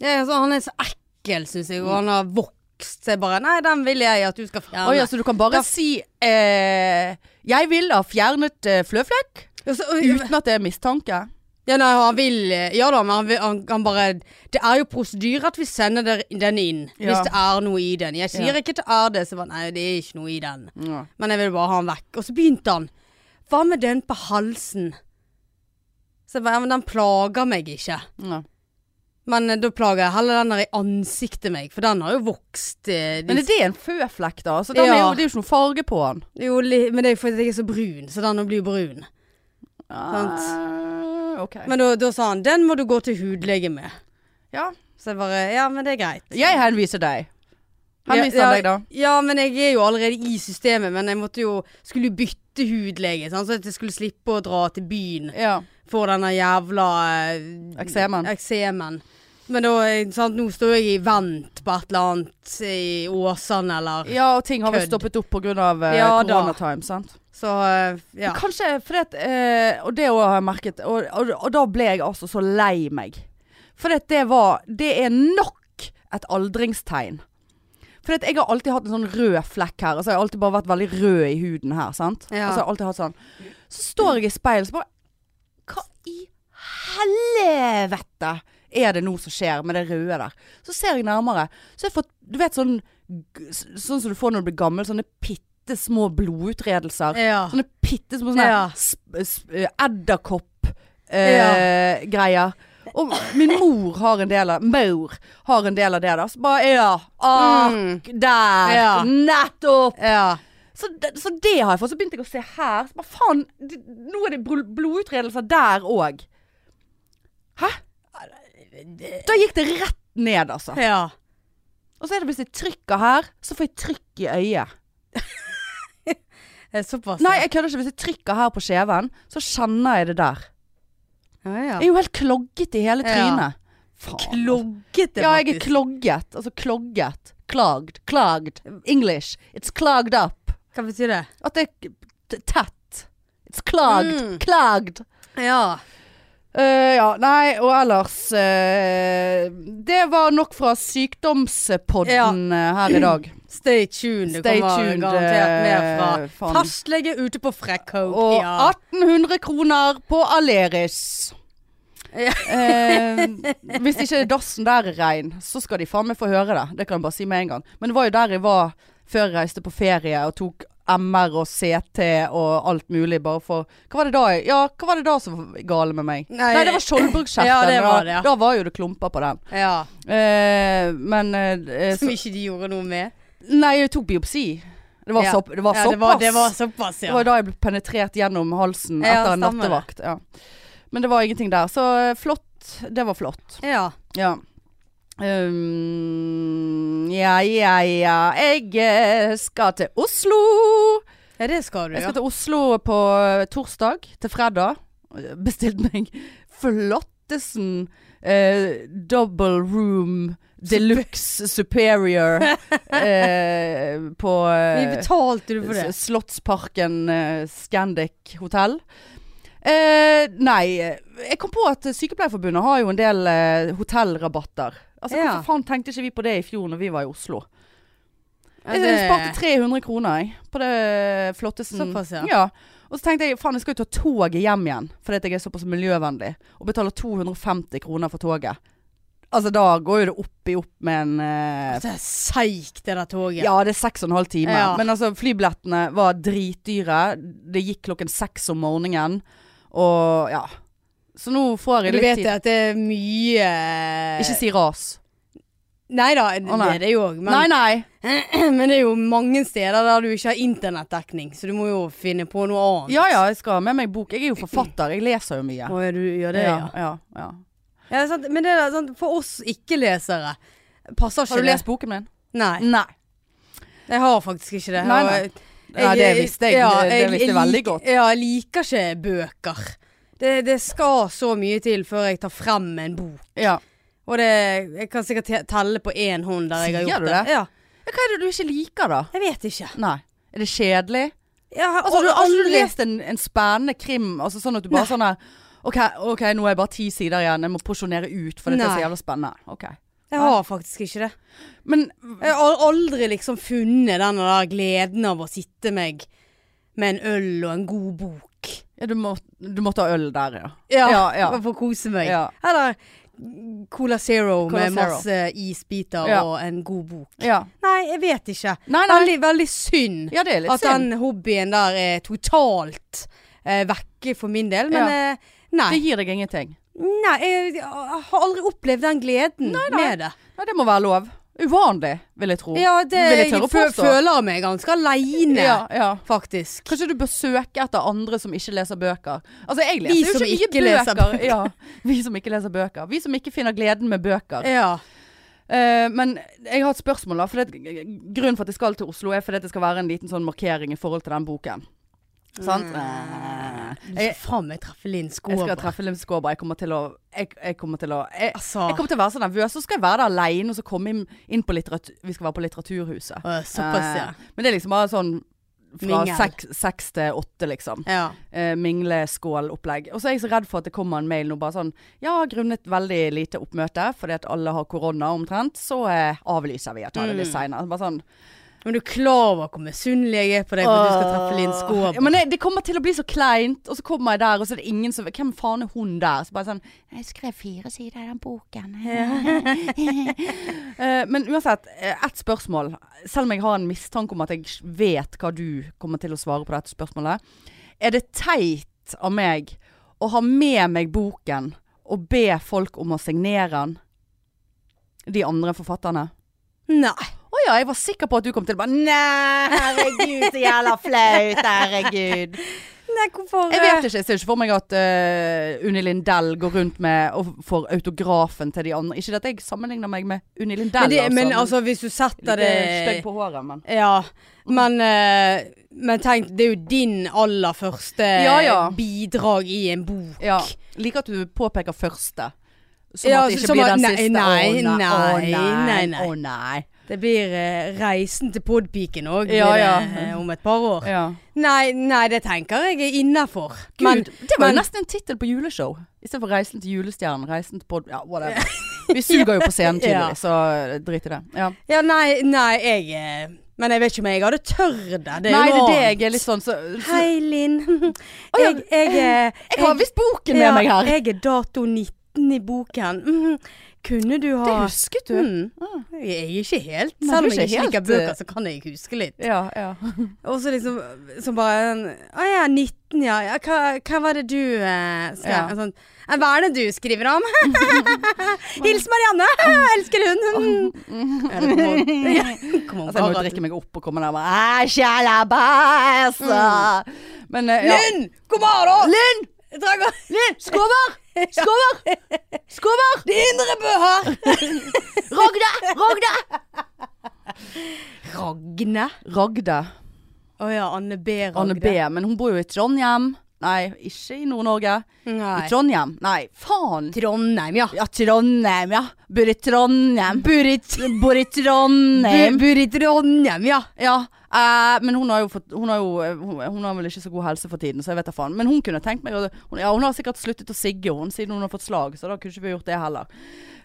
Speaker 2: ja, så Han er så ekkel, synes jeg, og han har vokst. Så jeg bare, nei, den vil jeg at du skal fjerne.
Speaker 1: Oi, altså du kan bare
Speaker 2: Da-
Speaker 1: si eh, 'Jeg vil ha fjernet eh, fløflekk',
Speaker 2: Ja, så- oi,
Speaker 1: uten at det er mistanke.
Speaker 2: ja, nei, han vil eh, Ja da, men han, vil, han, han bare Det er jo prosedyre at vi sender der- den inn
Speaker 1: Ja.
Speaker 2: hvis det er noe i den. Jeg sier
Speaker 1: Ja.
Speaker 2: ikke at det er det, så bare Nei, det er ikke noe i den.
Speaker 1: Ja.
Speaker 2: Men jeg vil bare ha han vekk. Og så begynte han. Hva med den på halsen? Så jeg bare, ja, men den plager meg ikke.
Speaker 1: Ja.
Speaker 2: Men eh, da plager jeg heller den der i ansiktet meg, for den har jo vokst eh, de
Speaker 1: Men er det en føflekk, da? Altså, den er
Speaker 2: Ja.
Speaker 1: jo, det er jo ikke noe farge på den.
Speaker 2: Jo, li- men det er jo fordi jeg er så brun, så den blir brun.
Speaker 1: Ah, ok.
Speaker 2: Men da, da sa han, den må du gå til hudlege med.
Speaker 1: Ja.
Speaker 2: Så jeg bare, ja, men det er greit.
Speaker 1: Jeg henviser deg. Henviser
Speaker 2: ja,
Speaker 1: deg, da.
Speaker 2: Ja, men jeg er jo allerede i systemet, men jeg måtte jo, skulle jo bytte hudlege, sant? så at jeg skulle slippe å dra til byen
Speaker 1: Ja.
Speaker 2: for denne jævla eh,
Speaker 1: Eksemen.
Speaker 2: eksemen. Men da, eh, sant, nå står jeg i vent på et eller annet i Åsane, eller...
Speaker 1: ja, og ting har vel
Speaker 2: Kødd.
Speaker 1: stoppet opp pga. Eh,
Speaker 2: Ja, da.
Speaker 1: koronatime, sant?
Speaker 2: Så, eh, ja.
Speaker 1: Men Kanskje fordi at eh, Og det òg har jeg merket. Og, og, og da ble jeg altså så lei meg. For at det var Det er nok et aldringstegn. For at jeg har alltid hatt en sånn rød flekk her. Altså jeg har alltid bare vært veldig rød i huden her. Sant?
Speaker 2: Ja.
Speaker 1: Altså jeg har alltid hatt sånn Så står jeg i speilet så bare Hva i helvete er det nå som skjer med det røde der? Så ser jeg nærmere. Så har jeg fått Du vet sånn g- s- Sånn som du får når du blir gammel. Sånne bitte små blodutredelser.
Speaker 2: Ja.
Speaker 1: Sånne bitte små sånne
Speaker 2: Ja.
Speaker 1: sp- sp- edderkopp-greier. og min mor har en del av Maur har en del av det der. Så bare ja. Ah,
Speaker 2: Mm.
Speaker 1: Der!
Speaker 2: Ja.
Speaker 1: Nettopp!
Speaker 2: Ja.
Speaker 1: Så, det- så det har jeg fått. Så begynte jeg å se her. Så bare faen, det- nå er det bl- blodutredelser der òg. Hæ? Da gikk det rett ned, altså.
Speaker 2: Ja.
Speaker 1: Og så er det hvis jeg trykker her, så får jeg trykk i øyet.
Speaker 2: Eh, Såpass.
Speaker 1: Nei, jeg kødder ikke. Hvis jeg trykker her på skjeven, så kjenner jeg det der.
Speaker 2: ja, ja.
Speaker 1: Jeg er jo helt klogget i hele
Speaker 2: Ja.
Speaker 1: trynet. Faen. altså.
Speaker 2: Kloggete,
Speaker 1: Ja, jeg er
Speaker 2: faktisk.
Speaker 1: klogget. Altså klogget. Klagd. Klagd. English. It's clogged up.
Speaker 2: Hva betyr det?
Speaker 1: At det er t- tett. It's clogged.
Speaker 2: Mm.
Speaker 1: Klagd.
Speaker 2: Ja.
Speaker 1: Eh, ja, nei, og ellers eh, Det var nok fra sykdomspodden eh, her i dag.
Speaker 2: Stay tuned. Det
Speaker 1: Stay
Speaker 2: kommer
Speaker 1: tuned,
Speaker 2: garantert mer
Speaker 1: eh,
Speaker 2: fra
Speaker 1: faen.
Speaker 2: fastlege ute på Frekkhaug.
Speaker 1: Og
Speaker 2: ja.
Speaker 1: 1800 kroner på Aleris.
Speaker 2: Ja.
Speaker 1: Eh, hvis ikke dassen der er rein, så skal de faen meg få høre det. Det kan jeg bare si med en gang. Men det var jo der jeg var før jeg reiste på ferie og tok MR og CT og alt mulig, bare for Hva var det da, jeg- ja, hva var det da som var gale med meg?
Speaker 2: Nei,
Speaker 1: Nei, det var skjoldbruskkjertelen.
Speaker 2: Ja, det var
Speaker 1: da.
Speaker 2: det, ja.
Speaker 1: Da var jo det klumper på den.
Speaker 2: Ja.
Speaker 1: Eh, men eh, eh,
Speaker 2: Som
Speaker 1: så,
Speaker 2: ikke de gjorde noe med.
Speaker 1: Nei, jeg tok biopsi. Det var,
Speaker 2: Ja.
Speaker 1: så, det var
Speaker 2: ja,
Speaker 1: såpass.
Speaker 2: det var, det var såpass,
Speaker 1: Det
Speaker 2: ja.
Speaker 1: var jo da jeg ble penetrert gjennom halsen
Speaker 2: Ja,
Speaker 1: etter en
Speaker 2: stemmer det.
Speaker 1: nattevakt. Ja. Men det var ingenting der. Så eh, flott. Det var flott.
Speaker 2: ja.
Speaker 1: Ja. Um, ja, ja, ja. Jeg eh, skal til Oslo.
Speaker 2: Ja, det skal du,
Speaker 1: Jeg
Speaker 2: ja.
Speaker 1: skal til Oslo på eh, torsdag til fredag. Bestilt meg flottesen eh, double room deluxe superior eh, på
Speaker 2: Vi
Speaker 1: eh,
Speaker 2: betalte du for det?
Speaker 1: S- Slottsparken eh, Scandic hotell. Eh, nei, eh, jeg kom på at Sykepleierforbundet har jo en del eh, hotellrabatter. Altså,
Speaker 2: Ja.
Speaker 1: Hvorfor faen tenkte ikke vi på det i fjor når vi var i Oslo?
Speaker 2: Ja,
Speaker 1: Jeg,
Speaker 2: det-
Speaker 1: sparte 300 kroner jeg, på det flotteste.
Speaker 2: Såpass, ja.
Speaker 1: Og så tenkte jeg faen, jeg skal jo ta toget hjem igjen fordi at jeg er såpass miljøvennlig. Og betaler 250 kroner for toget. Altså da går jo det opp i opp med en eh,
Speaker 2: Det er seigt, det der toget.
Speaker 1: ja, det er seks og en halv time.
Speaker 2: Ja.
Speaker 1: Men altså, flybillettene var dritdyre. Det gikk klokken seks om morgenen. Og ja. Så nå får jeg
Speaker 2: du
Speaker 1: litt
Speaker 2: vet
Speaker 1: tid.
Speaker 2: at det er mye
Speaker 1: Ikke si ras.
Speaker 2: Nei da, det
Speaker 1: Å, nei.
Speaker 2: er det jo òg. Men,
Speaker 1: nei, nei.
Speaker 2: men det er jo mange steder der du ikke har internettdekning, så du må jo finne på noe annet.
Speaker 1: Ja ja, jeg skal ha med meg bok. Jeg er jo forfatter. Jeg leser jo mye.
Speaker 2: Å, ja, du gjør det, ja.
Speaker 1: ja, ja, ja.
Speaker 2: ja sant? Men det er sant, for oss ikke-lesere passer ikke
Speaker 1: Har du
Speaker 2: det.
Speaker 1: lest boken min?
Speaker 2: Nei,
Speaker 1: Nei.
Speaker 2: jeg har faktisk ikke det.
Speaker 1: Nei,
Speaker 2: Og
Speaker 1: nei.
Speaker 2: jeg-
Speaker 1: Nei, det visste jeg. Det- det visste jeg
Speaker 2: lik-
Speaker 1: veldig godt.
Speaker 2: Ja, jeg liker ikke bøker. Det, det skal så mye til før jeg tar frem en bok.
Speaker 1: Ja.
Speaker 2: Og det, jeg kan sikkert te- telle på én hånd der jeg har
Speaker 1: Sier
Speaker 2: gjort
Speaker 1: du
Speaker 2: det.
Speaker 1: det?
Speaker 2: Ja,
Speaker 1: ja. Hva er det du ikke liker, da?
Speaker 2: jeg vet ikke.
Speaker 1: Nei. Er det kjedelig?
Speaker 2: Jeg har
Speaker 1: Altså, har du aldri
Speaker 2: aldri
Speaker 1: lest en, en spennende krim? Altså sånn at du bare sånn her OK, ok, nå er jeg bare ti sider igjen. Jeg må porsjonere ut, for dette er
Speaker 2: Nei.
Speaker 1: så jævla spennende. Ok.
Speaker 2: Jeg har faktisk ikke det.
Speaker 1: Men
Speaker 2: Jeg har aldri liksom funnet den der gleden av å sitte meg med en øl og en god bok.
Speaker 1: Ja, du, må, du måtte ha øl der, ja.
Speaker 2: Ja,
Speaker 1: ja.
Speaker 2: For å kose meg.
Speaker 1: Ja.
Speaker 2: Eller Cola Zero
Speaker 1: Cola
Speaker 2: med
Speaker 1: Zero.
Speaker 2: masse isbiter
Speaker 1: Ja.
Speaker 2: og en god bok.
Speaker 1: ja.
Speaker 2: Nei, jeg vet ikke.
Speaker 1: Nei, nei.
Speaker 2: Veldig, veldig synd
Speaker 1: Ja, det er litt
Speaker 2: at
Speaker 1: synd.
Speaker 2: den hobbyen der er totalt eh, vekke for min del, men eh, nei.
Speaker 1: Det gir deg ingenting.
Speaker 2: Nei, jeg, jeg har aldri opplevd den gleden med det.
Speaker 1: Nei, det må være lov. Uvanlig, vil jeg tro.
Speaker 2: Ja, det,
Speaker 1: Vil jeg
Speaker 2: jeg,
Speaker 1: tørre å
Speaker 2: fø-
Speaker 1: påstå?
Speaker 2: føler meg ganske aleine,
Speaker 1: ja, ja.
Speaker 2: faktisk.
Speaker 1: Kanskje du bør søke etter andre som ikke leser bøker. Altså, jeg
Speaker 2: Vi
Speaker 1: leser jo
Speaker 2: som
Speaker 1: ikke mye
Speaker 2: ikke leser
Speaker 1: bøker.
Speaker 2: bøker.
Speaker 1: Ja, vi som ikke leser bøker. Vi som ikke finner gleden med bøker.
Speaker 2: Ja.
Speaker 1: Eh, men jeg har et spørsmål, da. For det, grunnen for at jeg skal til Oslo, er fordi at det skal være en liten sånn markering i forhold til den boken. Sant?
Speaker 2: Du
Speaker 1: Jeg,
Speaker 2: skal faen meg treffe Linn
Speaker 1: jeg skal
Speaker 2: Mm. Skåber.
Speaker 1: treffe Lim Skåber. Jeg kommer til å Jeg, jeg kommer til å jeg,
Speaker 2: Altså,
Speaker 1: Jeg kommer til å være så nervøs, så skal jeg være der alene og så komme inn, inn på litteratur... Vi skal være på Litteraturhuset.
Speaker 2: øh, såpass, ja.
Speaker 1: Eh, Men det er liksom bare sånn fra
Speaker 2: Mingel.
Speaker 1: seks, seks til åtte, liksom.
Speaker 2: ja.
Speaker 1: Eh, Mingleskålopplegg. Og så er jeg så redd for at det kommer en mail nå bare sånn Ja, grunnet veldig lite oppmøte, fordi at alle har korona omtrent, så eh, avlyser vi at ta det litt seinere. Bare sånn.
Speaker 2: Men du er klar over hvor misunnelig jeg er på deg for at du skal treffe Linn
Speaker 1: Ja,
Speaker 2: Skåber.
Speaker 1: men det, det kommer til å bli så kleint, og så kommer jeg der, og så er det ingen som Hvem faen er hun der? Så bare sånn Jeg skrev fire sider i den boken. Eh, men uansett, eh, ett spørsmål. Selv om jeg har en mistanke om at jeg vet hva du kommer til å svare på dette spørsmålet. Er det teit av meg å ha med meg boken og be folk om å signere den? De andre forfatterne?
Speaker 2: Nei.
Speaker 1: Å ja, jeg var sikker på at du kom til å bare Nei, herregud, så jævla flaut. Herregud.
Speaker 2: Nei, hvorfor
Speaker 1: Jeg vet ikke. Jeg ser ikke for meg at eh, Unni Lindell går rundt med og får autografen til de andre. Ikke at jeg sammenligner meg med Unni Lindell,
Speaker 2: Men, det, men
Speaker 1: men
Speaker 2: altså, hvis du setter det
Speaker 1: stygg eh, på håret, men
Speaker 2: Ja, men, eh, men tenk, det er jo din aller første
Speaker 1: Ja, ja.
Speaker 2: bidrag i en bok.
Speaker 1: ja. Liker at du påpeker første. Som
Speaker 2: Ja,
Speaker 1: at det ikke
Speaker 2: som
Speaker 1: blir
Speaker 2: at-
Speaker 1: den
Speaker 2: nei,
Speaker 1: siste.
Speaker 2: nei,
Speaker 1: Å, å,
Speaker 2: nei, nei, nei.
Speaker 1: Å nei.
Speaker 2: Det blir eh, reisen til podpiken òg
Speaker 1: Ja, ja.
Speaker 2: eh, om et par år.
Speaker 1: Ja.
Speaker 2: Nei, nei, det tenker jeg er innafor.
Speaker 1: Gud, det var jo nesten en tittel på juleshow. Istedenfor 'Reisen til julestjernen', 'Reisen til pod... Ja, whatever. Vi suger jo på scenen
Speaker 2: Ja.
Speaker 1: tydeligvis, så drit i det. Ja.
Speaker 2: Ja, nei, nei, jeg eh, Men jeg vet ikke om jeg hadde tørre det. Det er
Speaker 1: Nei,
Speaker 2: jo
Speaker 1: det
Speaker 2: noe
Speaker 1: er det
Speaker 2: annet.
Speaker 1: jeg er litt sånn så, så,
Speaker 2: Hei, Linn.
Speaker 1: ja.
Speaker 2: Jeg, jeg, eh,
Speaker 1: Jeg har visst boken med
Speaker 2: ja,
Speaker 1: meg her.
Speaker 2: Jeg er dato 19 i boken. Mm. kunne du ha
Speaker 1: Det husket du.
Speaker 2: Mm.
Speaker 1: Ah.
Speaker 2: Jeg er ikke helt
Speaker 1: Nei,
Speaker 2: Selv
Speaker 1: du
Speaker 2: om
Speaker 1: er
Speaker 2: jeg
Speaker 1: ikke
Speaker 2: ikke liker
Speaker 1: helt,
Speaker 2: bøker,
Speaker 1: eh,
Speaker 2: så kan jeg huske litt.
Speaker 1: Ja, ja.
Speaker 2: Og så liksom så bare en, Å ja, 19, ja. ja hva, hva var det du eh, skrev?
Speaker 1: Ja.
Speaker 2: Sånn, «Eh, hva er det du skriver om? Hils Marianne! Elsker hun! Ja, det kommer- ja, det kommer
Speaker 1: Altså, jeg må jo
Speaker 2: bare-
Speaker 1: drikke meg opp og komme der og bare «Æ,
Speaker 2: Mm.
Speaker 1: Sjalabasa! Men eh, ja.
Speaker 2: Linn! Kom her, da!
Speaker 1: Linn!
Speaker 2: Jeg trenger
Speaker 1: Linn! Skover! Skover! Skover!
Speaker 2: Det er indre bø her!
Speaker 1: Ragde! Ragde!
Speaker 2: Ragne.
Speaker 1: Ragde.
Speaker 2: Å ja, Anne B. Ragne.
Speaker 1: Anne B. Men hun bor jo i Trondheim. Nei, ikke i Nord-Norge. I
Speaker 2: Nei.
Speaker 1: Trondheim. Nei, faen!
Speaker 2: Trondheim, ja.
Speaker 1: Ja, Trondheim, ja. Bor i Trondheim.
Speaker 2: Bor i Tr-
Speaker 1: Bor i Trondheim.
Speaker 2: bor i Trondheim, ja.
Speaker 1: Ja, eh, men hun har jo fått Hun har jo eh, hun, hun har vel ikke så god helse for tiden, så jeg vet da faen. Men hun kunne tenkt meg å hun, Ja, hun har sikkert sluttet å sigge, hun, siden hun har fått slag, så da kunne ikke vi gjort det heller.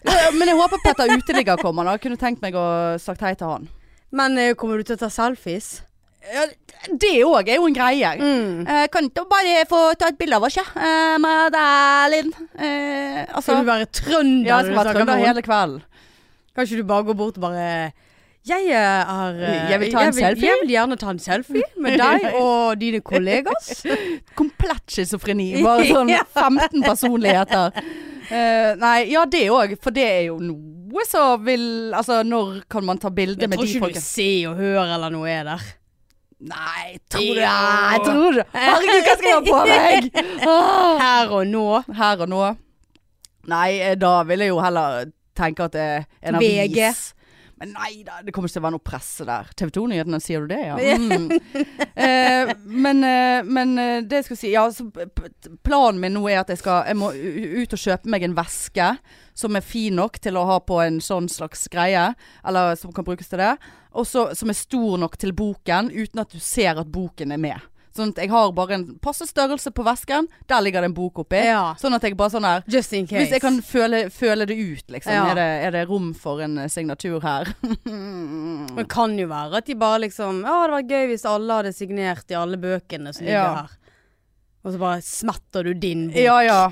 Speaker 1: Eh, Men jeg håper Petter Uteligger kommer, da. Jeg kunne tenkt meg å sagt hei til han.
Speaker 2: Men eh, kommer du til å ta selfies?
Speaker 1: Ja, det òg er jo en greie.
Speaker 2: Mm.
Speaker 1: Eh, kan ikke bare få ta et bilde av oss, ja? Eh, med deg, Linn. Eh, altså
Speaker 2: Skal du være trønder?
Speaker 1: Ja, jeg
Speaker 2: når
Speaker 1: skal
Speaker 2: du
Speaker 1: være
Speaker 2: snakker med
Speaker 1: trønder
Speaker 2: henne?
Speaker 1: hele kvelden.
Speaker 2: Kan ikke du bare gå bort og bare Jeg eh, er eh,
Speaker 1: Jeg vil ta en selfie."
Speaker 2: Jeg vil gjerne ta en selfie med deg og dine kollegas.
Speaker 1: komplett schizofreni. Bare sånn
Speaker 2: Ja.
Speaker 1: 15 personligheter. Eh, nei, ja det òg, for det er jo noe som vil Altså, når kan man ta bilde
Speaker 2: Jeg
Speaker 1: med
Speaker 2: tror
Speaker 1: de
Speaker 2: ikke du
Speaker 1: folka?
Speaker 2: Se og Hør eller noe er der.
Speaker 1: Nei, tror du
Speaker 2: Jo.
Speaker 1: Nei, tror du Herregud, hva skal jeg ha på meg? Åh.
Speaker 2: Her og nå.
Speaker 1: Her og nå. Nei, eh, da vil jeg jo heller tenke at det er en avis.
Speaker 2: VG.
Speaker 1: Men nei da, det kommer ikke til å være noe presse der. TV 2-nyhetene, sier du det, ja? Mm. eh, men, eh, men eh, det jeg skulle si Ja, så p- p- planen min nå er at jeg skal Jeg må u- ut og kjøpe meg en veske som er fin nok til å ha på en sånn slags greie. Eller som kan brukes til det. Og så som er stor nok til boken, uten at du ser at boken er med. Sånn at jeg har bare en passe størrelse på vesken. Der ligger det en bok oppi.
Speaker 2: Ja.
Speaker 1: Sånn at jeg bare sånn her
Speaker 2: Just in case.
Speaker 1: Hvis jeg kan føle, føle det ut, liksom.
Speaker 2: Ja.
Speaker 1: Er, det, er det rom for en eh, signatur her?
Speaker 2: Men det kan jo være at de bare liksom Å, det var gøy hvis alle hadde signert i alle bøkene som ligger
Speaker 1: Ja.
Speaker 2: her. Og så bare smetter du din bok.
Speaker 1: ja ja.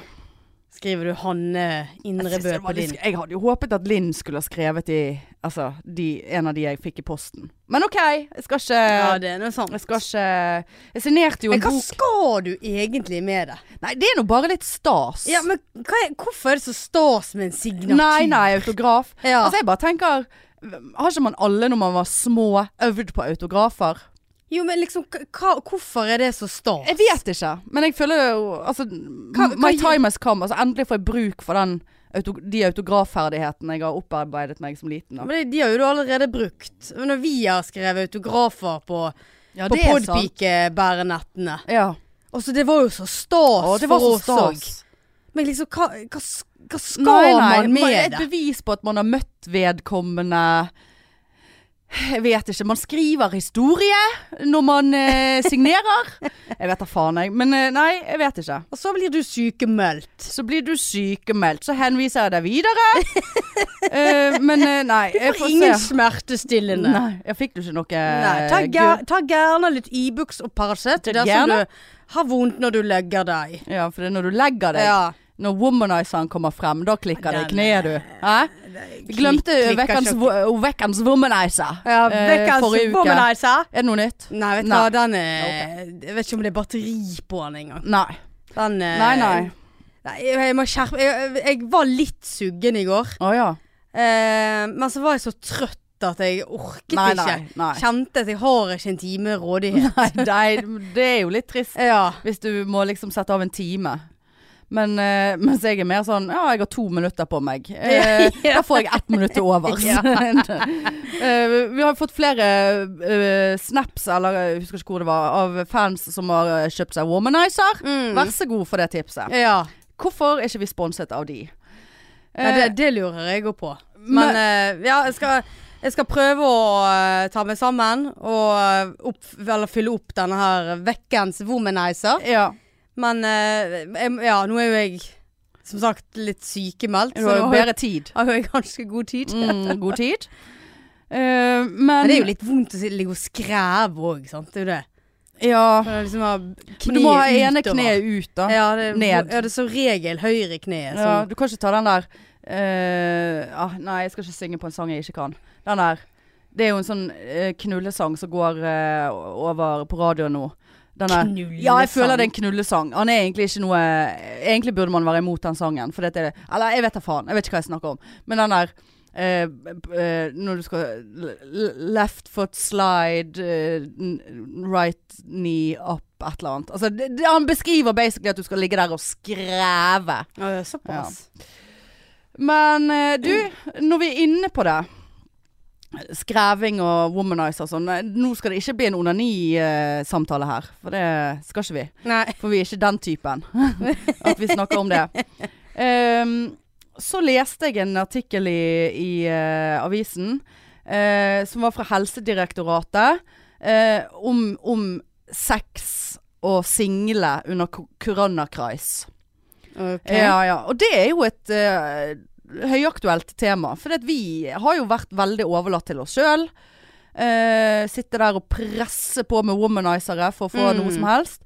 Speaker 2: Skriver du Hanne
Speaker 1: Jeg,
Speaker 2: Indrebø
Speaker 1: synes det var
Speaker 2: på
Speaker 1: litt
Speaker 2: din.
Speaker 1: sk- jeg hadde jo håpet at Linn skulle ha skrevet i Altså de, en av de jeg fikk i posten. Men OK, jeg skal ikke
Speaker 2: Ja, det er noe sånt.
Speaker 1: Jeg skal ikke Jeg signerte jo
Speaker 2: Men
Speaker 1: en
Speaker 2: hva
Speaker 1: bok
Speaker 2: skal du egentlig med det?
Speaker 1: Nei, det er nå bare litt stas.
Speaker 2: Ja, men hva er, hvorfor er det så stas med en signatur?
Speaker 1: nei, nei, autograf.
Speaker 2: Ja.
Speaker 1: Altså, jeg bare tenker Har ikke man alle når man var små øvd på autografer?
Speaker 2: jo, men liksom, k- hva, hvorfor er det så stas?
Speaker 1: Jeg vet ikke, men jeg føler jo altså,
Speaker 2: Hva-
Speaker 1: My
Speaker 2: hva-
Speaker 1: time has come. Altså, endelig får jeg bruk for den, auto, de autografferdighetene jeg har opparbeidet meg som liten. Da.
Speaker 2: Men de, de har jo du allerede brukt. Men når vi har skrevet autografer på,
Speaker 1: Ja,
Speaker 2: på
Speaker 1: eh,
Speaker 2: podpikebærenettene.
Speaker 1: Ja.
Speaker 2: Og så Altså, det var jo så stas
Speaker 1: Å, det var så
Speaker 2: for oss òg.
Speaker 1: stas.
Speaker 2: Men liksom, hva, hva, s- hva skal
Speaker 1: Nei, nei,
Speaker 2: man
Speaker 1: bare
Speaker 2: med
Speaker 1: Et
Speaker 2: det?
Speaker 1: bevis på at man har møtt vedkommende. Jeg vet ikke. Man skriver historie når man eh, signerer. Jeg vet da faen, jeg. Men eh, nei, jeg vet ikke.
Speaker 2: Og så blir du sykemeldt.
Speaker 1: Så blir du sykemeldt, så henviser jeg deg videre. Eh, men eh, nei, jeg
Speaker 2: For
Speaker 1: får
Speaker 2: ingen
Speaker 1: se.
Speaker 2: smertestillende.
Speaker 1: Nei, jeg fikk jo ikke noe eh,
Speaker 2: Nei, ta,
Speaker 1: gul-
Speaker 2: ger, ta gjerne litt Ibux og Paracet
Speaker 1: Ta
Speaker 2: dersom
Speaker 1: gjerne.
Speaker 2: du har vondt når du legger deg.
Speaker 1: Ja, for det er når du legger deg,
Speaker 2: Ja.
Speaker 1: når womanizeren kommer frem, da klikker det i
Speaker 2: Den,
Speaker 1: kneet, du. Hæ? Vi glemte
Speaker 2: Klikk- klikker
Speaker 1: vekkens,
Speaker 2: ikke.
Speaker 1: wo- oh, vekkens womanizer
Speaker 2: Ja,
Speaker 1: eh,
Speaker 2: vekkens
Speaker 1: forrige uke.
Speaker 2: womanizer.
Speaker 1: Er det noe nytt?
Speaker 2: Nei, vet du hva,
Speaker 1: Nei.
Speaker 2: den er Jeg vet ikke om det er batteri på den engang.
Speaker 1: Nei.
Speaker 2: Den er-
Speaker 1: Nei,
Speaker 2: Eh,
Speaker 1: nei.
Speaker 2: Nei, jeg, jeg må skjerpe jeg, jeg var litt suggen i går,
Speaker 1: Å ja.
Speaker 2: eh, men så var jeg så trøtt at jeg orket
Speaker 1: Nei,
Speaker 2: ikke.
Speaker 1: nei, nei.
Speaker 2: Kjente at jeg har ikke en time rådighet.
Speaker 1: Nei, nei, det er jo litt trist
Speaker 2: Ja.
Speaker 1: Eh, hvis du må liksom sette av en time. Men eh, mens jeg er mer sånn Ja, jeg har to minutter på meg. Eh, Da får jeg ett minutt til overs.
Speaker 2: Ja.
Speaker 1: Eh, vi har fått flere eh, snaps, eller jeg husker ikke hvor det var, av fans som har eh, kjøpt seg womanizer.
Speaker 2: Mm.
Speaker 1: Vær så god for det tipset.
Speaker 2: ja.
Speaker 1: Hvorfor er ikke vi sponset av de?
Speaker 2: Nei,
Speaker 1: Eh,
Speaker 2: det, det lurer jeg òg på. Men eh, ja, jeg skal, jeg skal prøve å eh, ta meg sammen og eh, opp, eller fylle opp denne her vekkens womanizer.
Speaker 1: ja.
Speaker 2: Men eh, jeg, ja, nå er jo jeg som sagt litt sykemeldt,
Speaker 1: Du
Speaker 2: så
Speaker 1: har
Speaker 2: nå
Speaker 1: jo
Speaker 2: har jeg,
Speaker 1: bedre tid.
Speaker 2: har jeg ganske god tid.
Speaker 1: Mm, god tid. Eh, men
Speaker 2: Men det er jo litt vondt å si- ligge og skræve òg, sant. Det er jo det.
Speaker 1: Ja.
Speaker 2: For det er liksom å ha
Speaker 1: Men du må ha ene
Speaker 2: utover.
Speaker 1: kneet ut, da.
Speaker 2: ja, det,
Speaker 1: ned.
Speaker 2: Ja, det er som regel høyre kneet.
Speaker 1: Ja,
Speaker 2: som-
Speaker 1: du kan ikke ta den der eh, ah, Nei, jeg skal ikke synge på en sang jeg ikke kan. Den der. Det er jo en sånn eh, knullesang som går eh, over på radioen nå. Den der.
Speaker 2: Knullesang.
Speaker 1: Ja, jeg føler det er en knullesang. Han er egentlig ikke noe Egentlig burde man være imot den sangen. For dette er det Eller jeg vet da faen. Jeg vet ikke hva jeg snakker om. Men den der eh, b- eh, Når du skal l- l- Left foot slide, eh, n- right knee up, et eller annet. Altså, det, det, han beskriver basically at du skal ligge der og skreve.
Speaker 2: Ja, det er såpass.
Speaker 1: Men eh, du, når vi er inne på det Skreving og womanizer og sånn. eh, Nå skal det ikke bli en onani-samtale her, for det skal ikke vi.
Speaker 2: Nei.
Speaker 1: For vi er ikke den typen at vi snakker om det. Ehm, så leste jeg en artikkel i, i eh, avisen eh, som var fra Helsedirektoratet eh, om, om sex og single under ko- koronakrise.
Speaker 2: Ok.
Speaker 1: Ja, ja. Og det er jo et eh, høyaktuelt tema. For at vi har jo vært veldig overlatt til oss sjøl. sitte der og presse på med womanizere for å få
Speaker 2: Mm.
Speaker 1: noe som helst.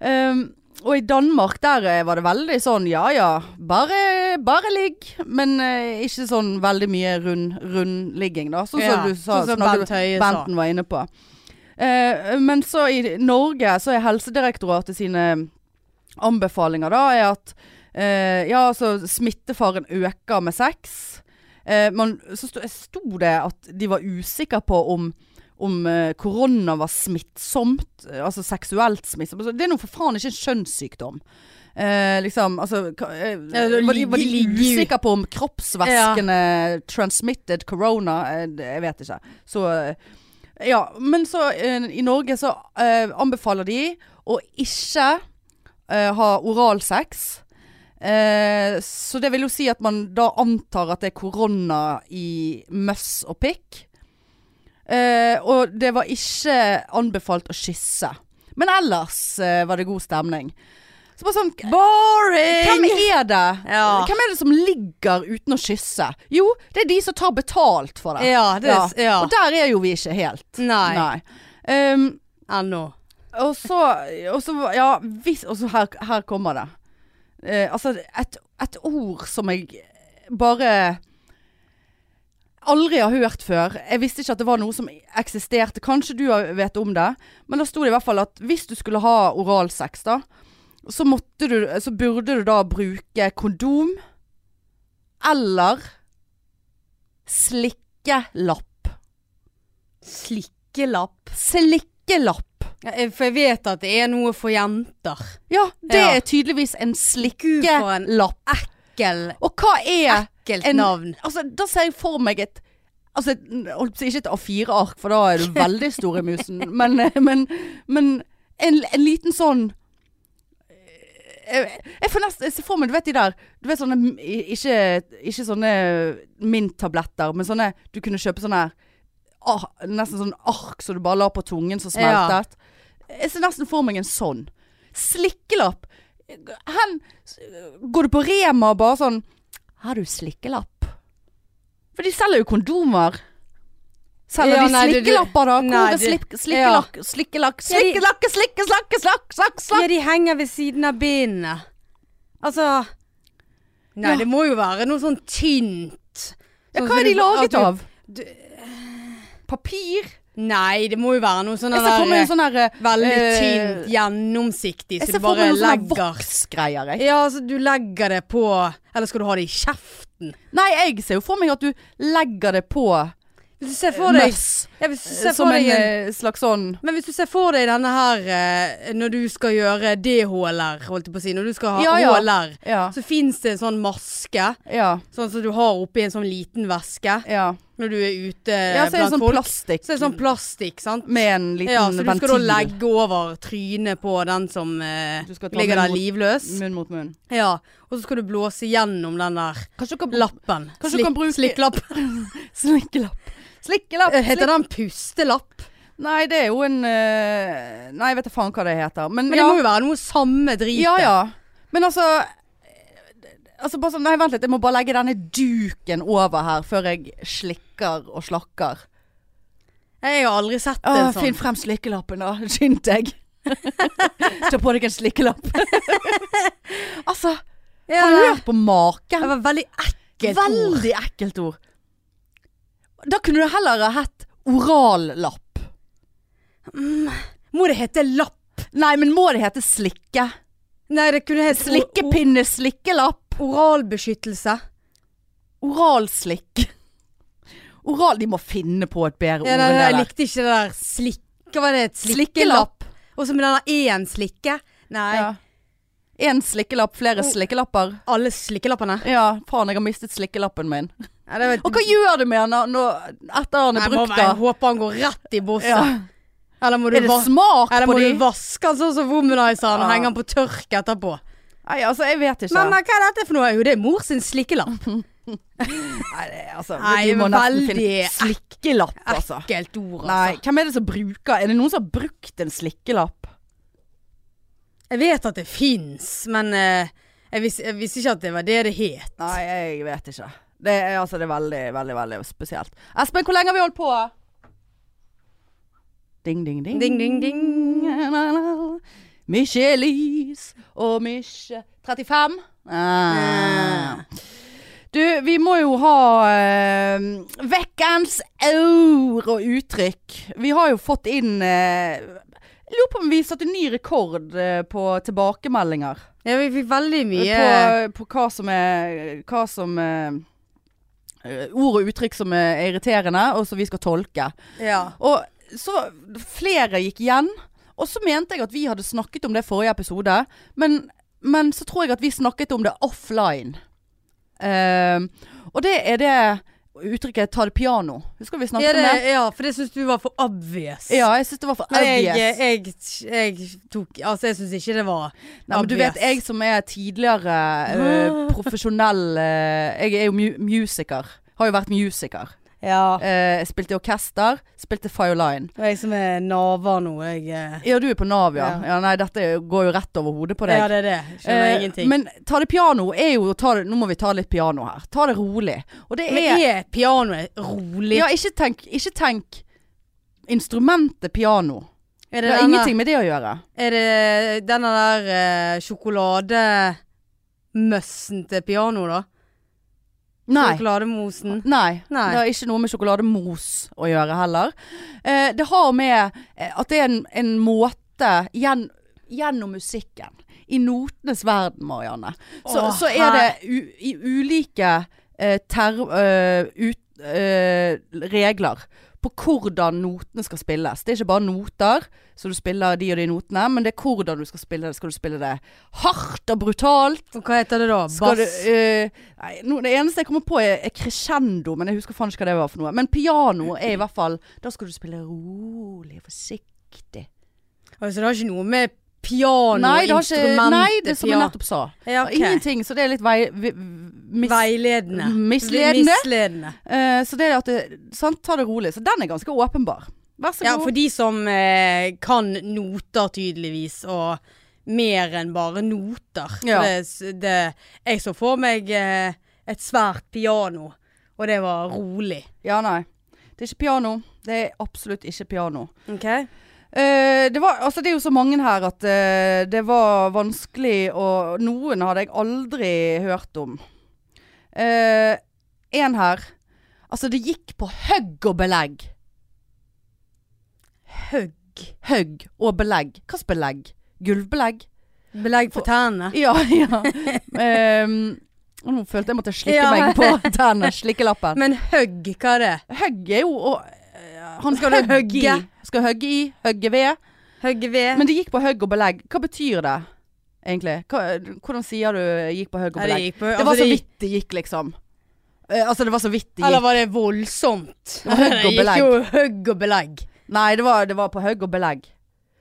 Speaker 1: Ehm, og i Danmark der eh, var det veldig sånn ja ja, bare, bare ligg. Men eh, ikke sånn veldig mye rund, rundligging, da. Sånn som
Speaker 2: Ja,
Speaker 1: du sa,
Speaker 2: sånn som
Speaker 1: snakket-
Speaker 2: Bent Høie sa.
Speaker 1: Benten var inne på. Eh, men så i Norge så er Helsedirektoratet sine anbefalinger da er at eh, ja, altså smittefaren øker med sex. Eh, man, så sto, sto det at de var usikre på om om eh, korona var smittsomt, eh, altså seksuelt smittsomt. Altså, Det er nå for faen ikke en kjønnssykdom. Eh, liksom, altså ka- eh,
Speaker 2: Ja, det
Speaker 1: Var de, var de
Speaker 2: ligger- ligger-
Speaker 1: usikre på om kroppsvæskene transmitted corona? Eh, det- jeg vet ikke. Så eh, Ja. Men så eh, i Norge så eh, anbefaler de å ikke eh, ha oralsex. Eh, så det vil jo si at man da antar at det er korona i møss og pikk. Eh, og det var ikke anbefalt å kysse. Men ellers eh, var det god stemning. Så bare sånn Hvem
Speaker 2: Boring!
Speaker 1: er det?
Speaker 2: Ja.
Speaker 1: Hvem er det som ligger uten å kysse? Jo, det er de som tar betalt for det.
Speaker 2: Ja, det
Speaker 1: Ja.
Speaker 2: er ja.
Speaker 1: Og der er jo vi ikke helt.
Speaker 2: Nei.
Speaker 1: Um,
Speaker 2: Ennå.
Speaker 1: og så, og så Ja, hvis Og så her, her kommer det. Eh, altså, et, et ord som jeg bare aldri har hørt før. Jeg visste ikke at det var noe som eksisterte. Kanskje du har- vet om det. Men da sto det i hvert fall at hvis du skulle ha oralsex, da, så, måtte du, så burde du da bruke kondom eller slikkelapp.
Speaker 2: Slikkelapp.
Speaker 1: Slikkelapp.
Speaker 2: Ja, jeg- for jeg vet at det er noe for jenter.
Speaker 1: Ja, det
Speaker 2: Ja.
Speaker 1: er tydeligvis en
Speaker 2: Gud, for en
Speaker 1: slikkelapp.
Speaker 2: Ekkel,
Speaker 1: Og hva er
Speaker 2: ekkelt
Speaker 1: En-
Speaker 2: navn.
Speaker 1: Altså, da ser jeg for meg et Altså, et, holdt på å si, ikke et A4-ark, for da er du veldig stor i musen, men, men, men en, en liten sånn jeg, jeg, får nesten, jeg ser for meg, du vet de der Du vet sånne, ikke, ikke sånne mint-tabletter, men sånne Du kunne kjøpe sånne her ah, Nesten sånn ark som du bare la på tungen som
Speaker 2: Ja.
Speaker 1: smeltet. Jeg ser nesten for meg en sånn. Slikkelapp. Hen Går du på Rema og bare sånn Har du slikkelapp? For de selger jo kondomer. Selger
Speaker 2: Ja,
Speaker 1: de
Speaker 2: nei, det- det-
Speaker 1: slikkelapper, da?
Speaker 2: nei,
Speaker 1: Hvor er
Speaker 2: det-
Speaker 1: slik, slikkelakk, slikkelakk,
Speaker 2: Ja, de-
Speaker 1: slikkelakke, slikke, slakke, slakk, slakk, slakk?
Speaker 2: Ja, de henger ved siden av bindene. Altså Nei,
Speaker 1: Ja.
Speaker 2: det må jo være noe sånn tynt.
Speaker 1: Ja, hva
Speaker 2: Sånn som
Speaker 1: er de
Speaker 2: du- at
Speaker 1: laget
Speaker 2: du-
Speaker 1: av?
Speaker 2: du-
Speaker 1: eh, Papir?
Speaker 2: Nei, det må jo være noe sånn
Speaker 1: Jeg ser for meg en sånn her eh,
Speaker 2: veldig
Speaker 1: eh,
Speaker 2: tynt, gjennomsiktig,
Speaker 1: Jeg
Speaker 2: så du
Speaker 1: ser for meg
Speaker 2: bare
Speaker 1: noen sånne
Speaker 2: legger
Speaker 1: voksgreier, jeg.
Speaker 2: Ja, altså du legger det på Eller skal du ha det i kjeften?
Speaker 1: Nei, jeg ser jo for meg at du legger det på
Speaker 2: Hvis du ser for deg,
Speaker 1: møss.
Speaker 2: ja, hvis du ser
Speaker 1: Som
Speaker 2: for
Speaker 1: en
Speaker 2: deg en,
Speaker 1: eh, slags sånn
Speaker 2: Men hvis du ser for deg denne her eh, når du skal gjøre DHLR, holdt jeg på å si, når du skal ha
Speaker 1: Ja, ja.
Speaker 2: HLR,
Speaker 1: Ja.
Speaker 2: så fins det en sånn maske,
Speaker 1: Ja.
Speaker 2: sånn som du har oppi en sånn liten veske
Speaker 1: Ja,
Speaker 2: når du er ute
Speaker 1: ja så er det
Speaker 2: blant
Speaker 1: sånn
Speaker 2: folk.
Speaker 1: plastikk
Speaker 2: Så er det sånn plastikk, sant?
Speaker 1: med en liten
Speaker 2: ja, så du skal da
Speaker 1: ventil.
Speaker 2: legge over trynet på den som eh,
Speaker 1: Du skal ta
Speaker 2: ligger
Speaker 1: den
Speaker 2: der
Speaker 1: mot-
Speaker 2: livløs.
Speaker 1: Munn mot munn.
Speaker 2: Ja, og så skal du blåse gjennom den der
Speaker 1: Kanskje du kan
Speaker 2: lappen.
Speaker 1: Kanskje du kan bruke-
Speaker 2: Slikkelapp.
Speaker 1: Slikkelapp. Slikkelapp.
Speaker 2: Eh, Heter den pustelapp?
Speaker 1: Nei, det er jo en eh, Nei, jeg vet da faen hva det heter. Men,
Speaker 2: Men det
Speaker 1: ja,
Speaker 2: må jo være noe samme dritet.
Speaker 1: ja, ja. Men altså eh, Altså bare sånn, Nei, vent litt. Jeg må bare legge denne duken over her før jeg slikker og slakker.
Speaker 2: Jeg har aldri sett det
Speaker 1: Å,
Speaker 2: sånn.
Speaker 1: Ah, Finn frem slikkelappen, da. Skynd deg. Ta på deg en slikkelapp. altså,
Speaker 2: Ja,
Speaker 1: har du
Speaker 2: det-
Speaker 1: hørt på maken?
Speaker 2: det var veldig ekkelt ord.
Speaker 1: Veldig ekkelt ord. Da kunne du heller ha hett orallapp.
Speaker 2: Må det hete lapp?
Speaker 1: Nei, men må det hete slikke?
Speaker 2: Nei, det kunne hett or-
Speaker 1: Slikkepinne, slikkelapp.
Speaker 2: or- Oralbeskyttelse.
Speaker 1: Oralslikk. Oral De må finne på et bedre
Speaker 2: Ja,
Speaker 1: ord
Speaker 2: nei,
Speaker 1: enn
Speaker 2: nei,
Speaker 1: det
Speaker 2: jeg
Speaker 1: der.
Speaker 2: likte ikke det der slikk... Hva var det? Et Slikkelapp?
Speaker 1: Slikkelapp.
Speaker 2: Og så med den der én slikke. Nei,
Speaker 1: Ja. En slikkelapp, flere
Speaker 2: Oh.
Speaker 1: slikkelapper.
Speaker 2: alle slikkelappene.
Speaker 1: Ja, faen, jeg har mistet slikkelappen min.
Speaker 2: Ja, det var et-
Speaker 1: Og hva gjør du med den når- når, etter han
Speaker 2: Nei,
Speaker 1: er
Speaker 2: jeg må-
Speaker 1: brukt, da?
Speaker 2: Jeg håper han går rett i bosset.
Speaker 1: Ja.
Speaker 2: Eller må du,
Speaker 1: Er det
Speaker 2: va-
Speaker 1: smak
Speaker 2: eller
Speaker 1: på
Speaker 2: må
Speaker 1: de?
Speaker 2: du vaske han sånn som womanizeren og
Speaker 1: Ja.
Speaker 2: henge han på tørk etterpå?
Speaker 1: Nei, altså, jeg vet ikke.
Speaker 2: Mamma, hva er dette for noe? Jo, det er mor sin slikkelapp.
Speaker 1: Nei, det, er altså,
Speaker 2: Nei,
Speaker 1: de må nesten
Speaker 2: veldig
Speaker 1: finne slikkelapp, altså.
Speaker 2: Ekkelt ord,
Speaker 1: Nei,
Speaker 2: altså.
Speaker 1: hvem er det som bruker Er det noen som har brukt en slikkelapp?
Speaker 2: Jeg vet at det fins, men eh, jeg, visste, jeg visste ikke at det var det det het.
Speaker 1: Nei, jeg vet ikke. Det er, altså, det er veldig, veldig veldig spesielt. Espen, hvor lenge har vi holdt på? Ding, ding, ding.
Speaker 2: Ding, ding, ding.
Speaker 1: Mykje lys og mykje 35? Ah. Du, vi må jo ha uh, vekkens ord og uttrykk. Vi har jo fått inn eh, Jeg lurer på om vi satte ny rekord eh, på tilbakemeldinger.
Speaker 2: Ja, vi fikk veldig mye
Speaker 1: På, på hva som er Hva som eh, Ord og uttrykk som er irriterende, og som vi skal tolke.
Speaker 2: ja.
Speaker 1: Og så flere gikk igjen. Og så mente jeg at vi hadde snakket om det forrige episode, men, men så tror jeg at vi snakket om det offline. Ehm, og det er det uttrykket 'ta det piano'. Husker vi snakket
Speaker 2: Ja, det,
Speaker 1: om det?
Speaker 2: ja, for det syns du var for obvious.
Speaker 1: Ja, jeg syns det var for
Speaker 2: Men jeg, eh,
Speaker 1: obvious.
Speaker 2: jeg, jeg tok Altså, jeg syns ikke det var
Speaker 1: Nei, men du vet, jeg som er tidligere
Speaker 2: Ah.
Speaker 1: eh, profesjonell eh, Jeg er jo mu musiker. Har jo vært musiker.
Speaker 2: Ja.
Speaker 1: Eh, spilte i orkester. Spilte Fioline.
Speaker 2: Og jeg som er naver nå, jeg eh,
Speaker 1: Ja, du er på Nav, ja.
Speaker 2: Ja.
Speaker 1: ja. Nei, dette går jo rett over hodet på deg.
Speaker 2: Ja, det er det. Skjønner
Speaker 1: Eh,
Speaker 2: ingenting.
Speaker 1: Men ta det piano er jo ta det, Nå må vi ta litt piano her. Ta det rolig. Og det
Speaker 2: Men
Speaker 1: er,
Speaker 2: er pianoet rolig?
Speaker 1: Ja, ikke tenk, ikke tenk instrumentet piano.
Speaker 2: er,
Speaker 1: Det
Speaker 2: det
Speaker 1: har
Speaker 2: denne,
Speaker 1: ingenting med det å gjøre.
Speaker 2: er det denne der eh, sjokolademøssen til piano, da?
Speaker 1: Nei.
Speaker 2: Sjokolademosen.
Speaker 1: Nei.
Speaker 2: Nei.
Speaker 1: Det har ikke noe med sjokolademos å gjøre heller. Eh, det har med eh, at det er en, en måte gjen, gjennom musikken. I notenes verden, Marianne. Så,
Speaker 2: Å,
Speaker 1: så er det u, i ulike eh, ter, eh, ut, eh, regler på hvordan notene skal spilles. Det er ikke bare noter, så du spiller de og de notene, men det er hvordan du skal spille det. Skal du spille det hardt og brutalt?
Speaker 2: Og hva heter det da?
Speaker 1: Skal
Speaker 2: Bass?
Speaker 1: du, eh, nei, nå, det eneste jeg kommer på er, er crescendo, men jeg husker faen ikke hva det var for noe. Men piano er i hvert fall Da skal du spille rolig, forsiktig.
Speaker 2: Altså, det har ikke noe med
Speaker 1: nei, det har ikke,
Speaker 2: pianoinstrumentet
Speaker 1: nei, det er som jeg
Speaker 2: pia-
Speaker 1: nettopp sa.
Speaker 2: ja, ok.
Speaker 1: Ingenting, så det er litt vei... vi- mis,
Speaker 2: Veiledende.
Speaker 1: Misledende.
Speaker 2: Misledende.
Speaker 1: Eh, så det er at det, sant, ta det rolig. Så den er ganske åpenbar. Vær så
Speaker 2: Ja,
Speaker 1: god.
Speaker 2: for de som eh, kan noter tydeligvis, og mer enn bare noter. For
Speaker 1: Ja.
Speaker 2: Det, s- det, jeg så for meg eh, et svært piano, og det var rolig.
Speaker 1: Ja, nei. Det er ikke piano. Det er absolutt ikke piano.
Speaker 2: Ok?
Speaker 1: Eh, det, var, altså det er jo så mange her at eh, det var vanskelig, og noen hadde jeg aldri hørt om. Eh, en her. Altså, det gikk på høgg og belegg.
Speaker 2: Høgg.
Speaker 1: Høgg og belegg. Hva slags belegg? Gulvbelegg?
Speaker 2: Belegg for tærne.
Speaker 1: Ja, ja. Ehm, og nå følte jeg måtte slikke
Speaker 2: Ja.
Speaker 1: meg på tennene. Slikkelappen.
Speaker 2: Men høgg, hva er det?
Speaker 1: Høgg er jo å eh, Han skal
Speaker 2: Skal du
Speaker 1: høgge i.
Speaker 2: høgge?
Speaker 1: Skal høgge i. Høgge ved.
Speaker 2: Høgge ved?
Speaker 1: Men det gikk på høgg og belegg. Hva betyr det egentlig? Hva, hvordan sier du gikk på høgg og
Speaker 2: Nei, det
Speaker 1: belegg?
Speaker 2: gikk på,
Speaker 1: Det,
Speaker 2: altså,
Speaker 1: var så
Speaker 2: det-
Speaker 1: vidt det gikk, liksom. Eh, altså, det var så vidt det
Speaker 2: Eller
Speaker 1: gikk.
Speaker 2: var det voldsomt?
Speaker 1: var høgg og belegg.
Speaker 2: Det gikk jo høgg og belegg.
Speaker 1: Nei, det var, det var på høgg og belegg.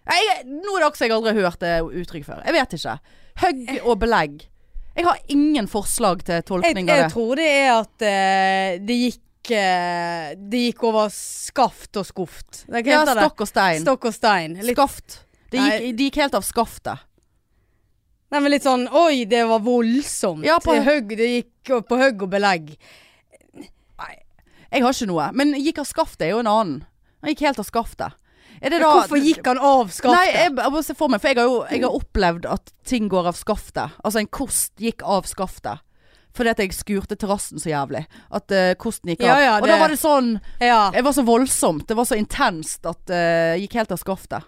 Speaker 1: Nei, Jeg, nå er det også jeg aldri har hørt det uttrykk før. Jeg vet ikke. Høgg og belegg. Jeg har ingen forslag til
Speaker 2: Eh. Jeg,
Speaker 1: tolkning av
Speaker 2: jeg
Speaker 1: det.
Speaker 2: tror det er at eh, det gikk eh, Det gikk over skaft og skuft. Hva
Speaker 1: Ja,
Speaker 2: heter det?
Speaker 1: stokk og stein.
Speaker 2: Stokk og stein. Litt,
Speaker 1: Skaft. Det gikk,
Speaker 2: Nei.
Speaker 1: de gikk helt av skaftet.
Speaker 2: nei, men litt sånn Oi, det var voldsomt.
Speaker 1: Ja, på-
Speaker 2: det, høgg, det gikk jo på høgg og belegg.
Speaker 1: Jeg har ikke noe. Men gikk av skaftet er jo en annen. Han gikk helt av skaftet. Er det da
Speaker 2: Hvorfor gikk han av skaftet?
Speaker 1: Nei, jeg, jeg må se for meg, for jeg har jo jeg har opplevd at ting går av skaftet. Altså en kost gikk av skaftet. Fordi at jeg skurte terrassen så jævlig. At eh, kosten gikk av.
Speaker 2: Ja, ja,
Speaker 1: Og
Speaker 2: det-
Speaker 1: da var det sånn
Speaker 2: Ja.
Speaker 1: Det var så voldsomt. Det var så intenst at det gikk helt av skaftet.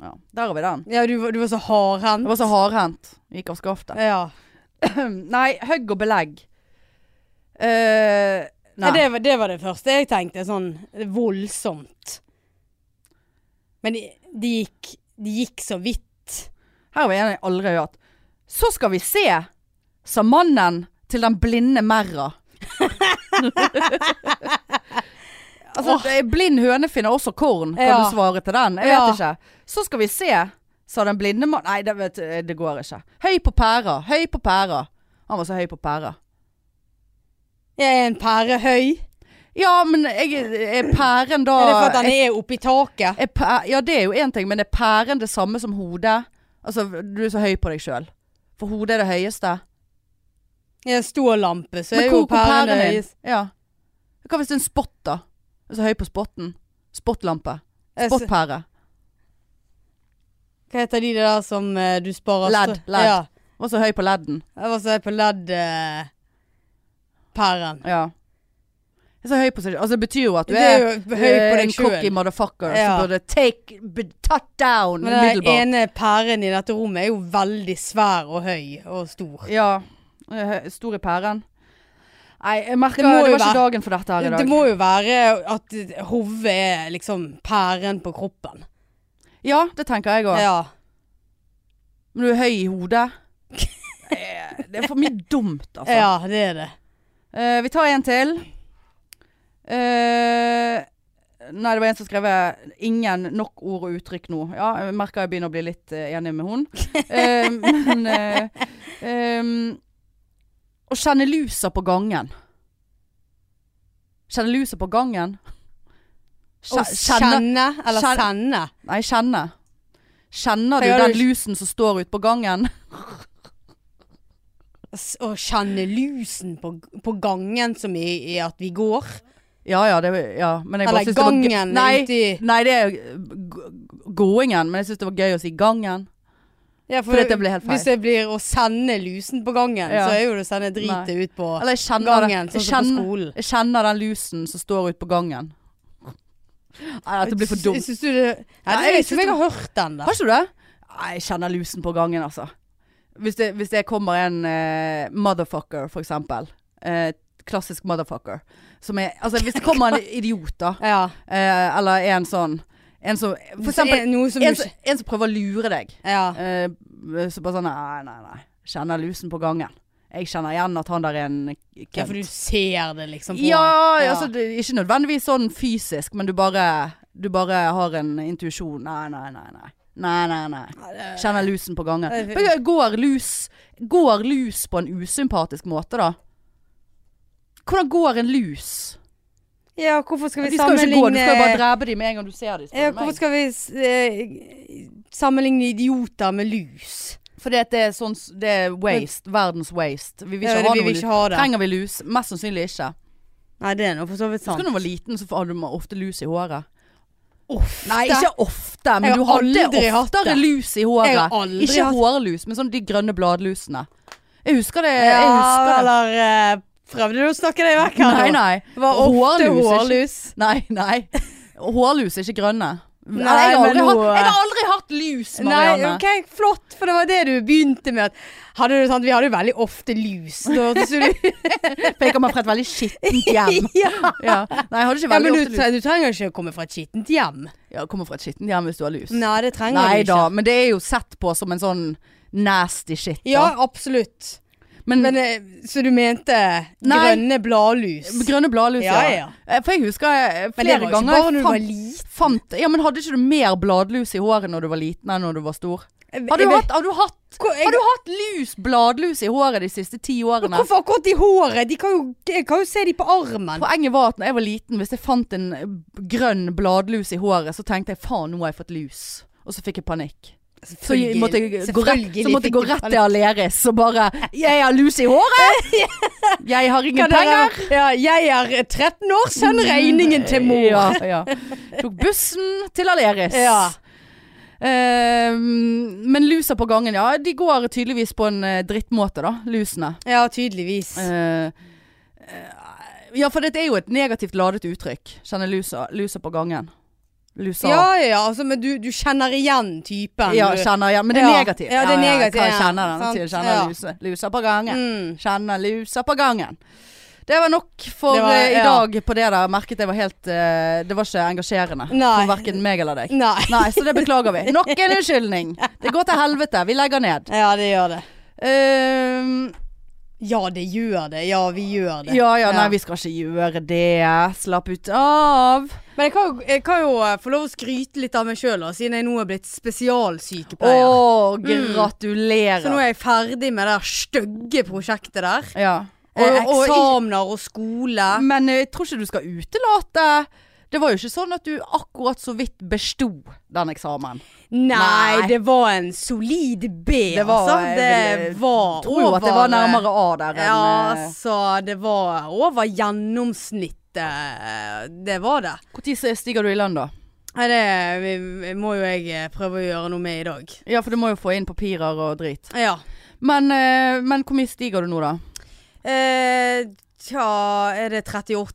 Speaker 1: Ja, der har vi den.
Speaker 2: ja du, var- du var så hardhendt.
Speaker 1: Det var så hardhendt. Gikk av skaftet.
Speaker 2: Ja.
Speaker 1: nei, høgg og belegg. Eh,
Speaker 2: Nei.
Speaker 1: nei.
Speaker 2: Det, var- det var det første jeg tenkte. Sånn voldsomt. Men det de gikk, de gikk så vidt.
Speaker 1: Her var en jeg aldri har hørt. Så skal vi se, sa mannen til den blinde merra. altså,
Speaker 2: Åh.
Speaker 1: det- blind høne finner også korn, kan
Speaker 2: Ja.
Speaker 1: du svare til den? Jeg vet
Speaker 2: Ja.
Speaker 1: ikke. Så skal vi se, sa den blinde mannen. Nei, det, vet, eh, det går ikke. Høy på pæra, høy på pæra. Han var så høy på pæra.
Speaker 2: Jeg er en pære høy.
Speaker 1: Ja, men jeg, er pæren da
Speaker 2: Er det for at den er oppi taket?
Speaker 1: er pæ- Ja, det er jo én ting, men er pæren det samme som hodet? Altså, du er så høy på deg sjøl. For hodet er det høyeste.
Speaker 2: Jeg er en stor lampe, så er
Speaker 1: Men
Speaker 2: jo
Speaker 1: hvor kom pæren
Speaker 2: pæren høy.
Speaker 1: din? Ja. Hva hvis det er en spott, da? Jeg er Så høy på spotten. Spottlampe.
Speaker 2: Jeg s-
Speaker 1: Spottpære.
Speaker 2: Hva heter de der som eh, du sparer
Speaker 1: Ledd,
Speaker 2: stø-
Speaker 1: ledd.
Speaker 2: Ja.
Speaker 1: Var så høy på ledden.
Speaker 2: Jeg var så høy på eh, ledd-pæren.
Speaker 1: Ja. Jeg er Så høy på seg Altså, det betyr jo at du
Speaker 2: du er
Speaker 1: er,
Speaker 2: jo høy på
Speaker 1: eh,
Speaker 2: deg
Speaker 1: en cocky
Speaker 2: sjøl.
Speaker 1: motherfucker
Speaker 2: Ja.
Speaker 1: som burde take be, Touch down
Speaker 2: Men den
Speaker 1: umiddelbart.
Speaker 2: ene pæren i dette rommet er jo veldig svær og høy og stor.
Speaker 1: Ja. Eh, Stor i pæren. Nei, jeg merker det,
Speaker 2: Det må jo
Speaker 1: var ikke
Speaker 2: være-
Speaker 1: dagen for dette her i dag.
Speaker 2: Det må jo være at hodet er liksom pæren på kroppen.
Speaker 1: Ja, det tenker jeg òg.
Speaker 2: Ja.
Speaker 1: Men du er høy i hodet. Eh, Det er for mye dumt, altså.
Speaker 2: ja, det er det.
Speaker 1: Eh, vi tar en til. Eh, nei, det var en som skrev 'ingen nok ord og uttrykk nå'. Ja, jeg merker jeg begynner å bli litt eh, enig med hun. Eh, men eh, ehm, Å kjenne lusa på gangen. Kjenne lusa på gangen.
Speaker 2: Å kjenne eller
Speaker 1: kjenne-
Speaker 2: sende.
Speaker 1: Nei, kjenne. Kjenner du
Speaker 2: Hva gjør
Speaker 1: den
Speaker 2: du-
Speaker 1: lusen som står ute på gangen?
Speaker 2: S- Å kjenne lusen på, på gangen som i, i at vi går.
Speaker 1: Ja ja, det, ja. men jeg bare
Speaker 2: Eller
Speaker 1: synes det var gøy-
Speaker 2: gangen
Speaker 1: Nei,
Speaker 2: uti
Speaker 1: Nei, det er g- gåingen, men jeg syns det var gøy å si gangen.
Speaker 2: ja,
Speaker 1: for dette ble helt feil.
Speaker 2: Hvis det blir å sende lusen på gangen,
Speaker 1: Ja.
Speaker 2: så er jo det å sende dritet ut på
Speaker 1: Eller jeg kjenner,
Speaker 2: gangen,
Speaker 1: det.
Speaker 2: sånn
Speaker 1: jeg,
Speaker 2: som på
Speaker 1: kjenner,
Speaker 2: skolen.
Speaker 1: jeg kjenner den lusen som står ute på gangen. Nei, dette blir for dumt.
Speaker 2: Syns du det Nei,
Speaker 1: Nei,
Speaker 2: det
Speaker 1: jeg
Speaker 2: vet ikke om jeg har hørt den der.
Speaker 1: Har ikke du det? Nei, jeg kjenner lusen på gangen, altså. Hvis det, hvis det kommer en eh, motherfucker, for eksempel. Eh, klassisk motherfucker. Som er Altså, hvis det kommer en idiot, da.
Speaker 2: Ja.
Speaker 1: eh, eller en sånn En som For
Speaker 2: Er
Speaker 1: eksempel
Speaker 2: det noe som
Speaker 1: en,
Speaker 2: du
Speaker 1: som- en som prøver å lure deg.
Speaker 2: ikke- Ja.
Speaker 1: Eh, så bare sånn Nei, nei, nei. Kjenner lusen på gangen. Jeg kjenner igjen at han der er en kønt.
Speaker 2: ja, for du ser det liksom på
Speaker 1: Ja,
Speaker 2: Ja.
Speaker 1: altså det, er ikke nødvendigvis sånn fysisk, men du bare, du bare har en intuisjon. Nei, nei, nei, nei. Nei, nei, nei.
Speaker 2: det-
Speaker 1: Kjenner lusen på gangen.
Speaker 2: Det er
Speaker 1: Men Går lus, går lus på en usympatisk måte, da? Hvordan går en lus?
Speaker 2: Ja, hvorfor skal vi
Speaker 1: De skal jo ikke gå, du skal jo bare
Speaker 2: sammenligne
Speaker 1: drepe dem med en gang du ser dem. spør
Speaker 2: ja,
Speaker 1: du
Speaker 2: Hvorfor
Speaker 1: meg.
Speaker 2: skal vi s- eh, sammenligne idioter med lus?
Speaker 1: Fordi at det er sånn s- Det er waste. Verdens waste. Vi vil
Speaker 2: Ja,
Speaker 1: ikke
Speaker 2: det-
Speaker 1: ha
Speaker 2: vi
Speaker 1: noe
Speaker 2: vil
Speaker 1: lus.
Speaker 2: ikke ha det.
Speaker 1: Trenger vi lus? Mest sannsynlig ikke.
Speaker 2: Nei, det er nå for så vidt sant.
Speaker 1: Husker du da du var liten, så hadde du ofte lus i håret.
Speaker 2: Ofte.
Speaker 1: Nei, ikke ofte, men
Speaker 2: Jeg
Speaker 1: du
Speaker 2: har
Speaker 1: hadde
Speaker 2: aldri hatt
Speaker 1: oftere
Speaker 2: det.
Speaker 1: lus i
Speaker 2: Jeg har
Speaker 1: håret.
Speaker 2: aldri
Speaker 1: Ikke
Speaker 2: hatt-
Speaker 1: hårlus, men sånn de grønne bladlusene. Jeg husker det.
Speaker 2: Ja,
Speaker 1: Jeg husker det.
Speaker 2: eller eh, prøvde du å snakke deg vekk her?
Speaker 1: Nei,
Speaker 2: nå?
Speaker 1: nei.
Speaker 2: Det var ofte
Speaker 1: Hårlus, ikke-
Speaker 2: hårlus.
Speaker 1: Nei, nei. Hårlus er ikke grønne.
Speaker 2: Nei,
Speaker 1: Eller, jeg, har aldri
Speaker 2: men
Speaker 1: hatt,
Speaker 2: nå-
Speaker 1: jeg har aldri hatt lus,
Speaker 2: Nei,
Speaker 1: Marianne.
Speaker 2: ok, flott, for det var det du begynte med. At hadde du, sant, vi hadde jo veldig ofte lus. Da, så du,
Speaker 1: For jeg kommer fra et veldig skittent hjem.
Speaker 2: ja.
Speaker 1: Ja. Nei, jeg hadde ikke
Speaker 2: ja,
Speaker 1: veldig
Speaker 2: men du,
Speaker 1: ofte lus.
Speaker 2: tre- du trenger ikke å komme fra et skittent hjem.
Speaker 1: Ja, kommer fra et skittent hjem hvis du har lus.
Speaker 2: Nei, det trenger
Speaker 1: Nei
Speaker 2: du ikke.
Speaker 1: da, men det er jo sett på som en sånn nasty shit.
Speaker 2: Ja,
Speaker 1: Da.
Speaker 2: absolutt.
Speaker 1: Men,
Speaker 2: Men, eh, så du mente
Speaker 1: Mm. Nei.
Speaker 2: grønne bladlus?
Speaker 1: grønne bladlus,
Speaker 2: Ja, ja.
Speaker 1: Eh, For jeg husker eh,
Speaker 2: Men det
Speaker 1: flere
Speaker 2: var jo ikke
Speaker 1: ganger jeg
Speaker 2: bare når du var
Speaker 1: fant,
Speaker 2: liten.
Speaker 1: fant Ja, men hadde ikke du mer bladlus i håret når du var liten enn når du var stor? Har du
Speaker 2: Jeg vet-
Speaker 1: hatt, har du hatt,
Speaker 2: Hvor- jeg-
Speaker 1: har du hatt lus, bladlus i håret de siste ti
Speaker 2: Men
Speaker 1: årene?
Speaker 2: Hvorfor akkurat i håret? De kan jo, jeg kan jo se de på armen.
Speaker 1: Poenget var at når jeg var liten, hvis jeg fant en eh, grønn bladlus i håret, så tenkte jeg faen, nå har jeg fått lus. Og så fikk jeg panikk. Så jeg måtte jeg gå rett,
Speaker 2: Selvfølgelig
Speaker 1: så måtte jeg gå
Speaker 2: fikk de
Speaker 1: rett til Aleris og bare 'Jeg har lus i håret! Jeg har ingen
Speaker 2: Kan dere-
Speaker 1: penger!'
Speaker 2: Ja, jeg er 13 år,
Speaker 1: Mm.
Speaker 2: send regningen til mor.
Speaker 1: Ja, ja. Tok bussen til Aleris.
Speaker 2: Ja.
Speaker 1: Eh, men lusa på gangen, ja. De går tydeligvis på en eh, drittmåte, da. Lusene.
Speaker 2: Ja, tydeligvis.
Speaker 1: Eh, eh, ja, for dette er jo et negativt ladet uttrykk. Kjenner lusa, lusa på gangen. Lusa.
Speaker 2: Ja, ja, ja, altså, men du, du kjenner igjen typen.
Speaker 1: Ja,
Speaker 2: du-
Speaker 1: kjenner igjen. Men det er
Speaker 2: Ja.
Speaker 1: negativt.
Speaker 2: Ja, det er negativt,
Speaker 1: kan jeg
Speaker 2: ja.
Speaker 1: kjenner den.
Speaker 2: Sant.
Speaker 1: til- Kjenner
Speaker 2: Ja.
Speaker 1: lusa, lusa på gangen.
Speaker 2: Mm.
Speaker 1: Kjenner lusa på gangen. Det var nok for
Speaker 2: Det var-
Speaker 1: eh, i
Speaker 2: ja.
Speaker 1: dag på det der. Merket jeg var helt eh, Det var ikke engasjerende
Speaker 2: Nei.
Speaker 1: for verken meg eller deg.
Speaker 2: Nei.
Speaker 1: Nei, så det beklager vi. Nok en unnskyldning. Det går til helvete. Vi legger ned.
Speaker 2: Ja, det gjør det.
Speaker 1: Ehm,
Speaker 2: Ja, det gjør det. Ja, vi gjør det.
Speaker 1: ja ja, nei, vi skal ikke gjøre det. Slapp ut av.
Speaker 2: Men jeg kan, jo- jeg kan jo eh, få lov å skryte litt av meg sjøl, siden jeg nå er blitt
Speaker 1: Å,
Speaker 2: spesialsykepleier.
Speaker 1: gratulerer.
Speaker 2: Mm. Så nå er jeg ferdig med det der stygge prosjektet der.
Speaker 1: ja.
Speaker 2: Og,
Speaker 1: Eh,
Speaker 2: og
Speaker 1: i-
Speaker 2: eksamener og skole.
Speaker 1: Men eh, jeg tror ikke du skal utelate Det var jo ikke sånn at du akkurat så vidt besto den eksamen.
Speaker 2: Nei,
Speaker 1: Nei.
Speaker 2: det var en solid B,
Speaker 1: Det var-
Speaker 2: altså. Det
Speaker 1: jeg
Speaker 2: var eh,
Speaker 1: Jeg tror jo at det var eh, nærmere A der enn
Speaker 2: Ja,
Speaker 1: eh,
Speaker 2: altså, det var over gjennomsnittet. Det var det.
Speaker 1: Hvor tid stiger du i lønn, da?
Speaker 2: Nei, det vi- må jo jeg eh, prøve å gjøre noe med i dag.
Speaker 1: Ja, for du må jo få inn papirer og drit.
Speaker 2: Ja.
Speaker 1: Men, eh, men hvor mye stiger du nå, da?
Speaker 2: Eh, tja, er det 38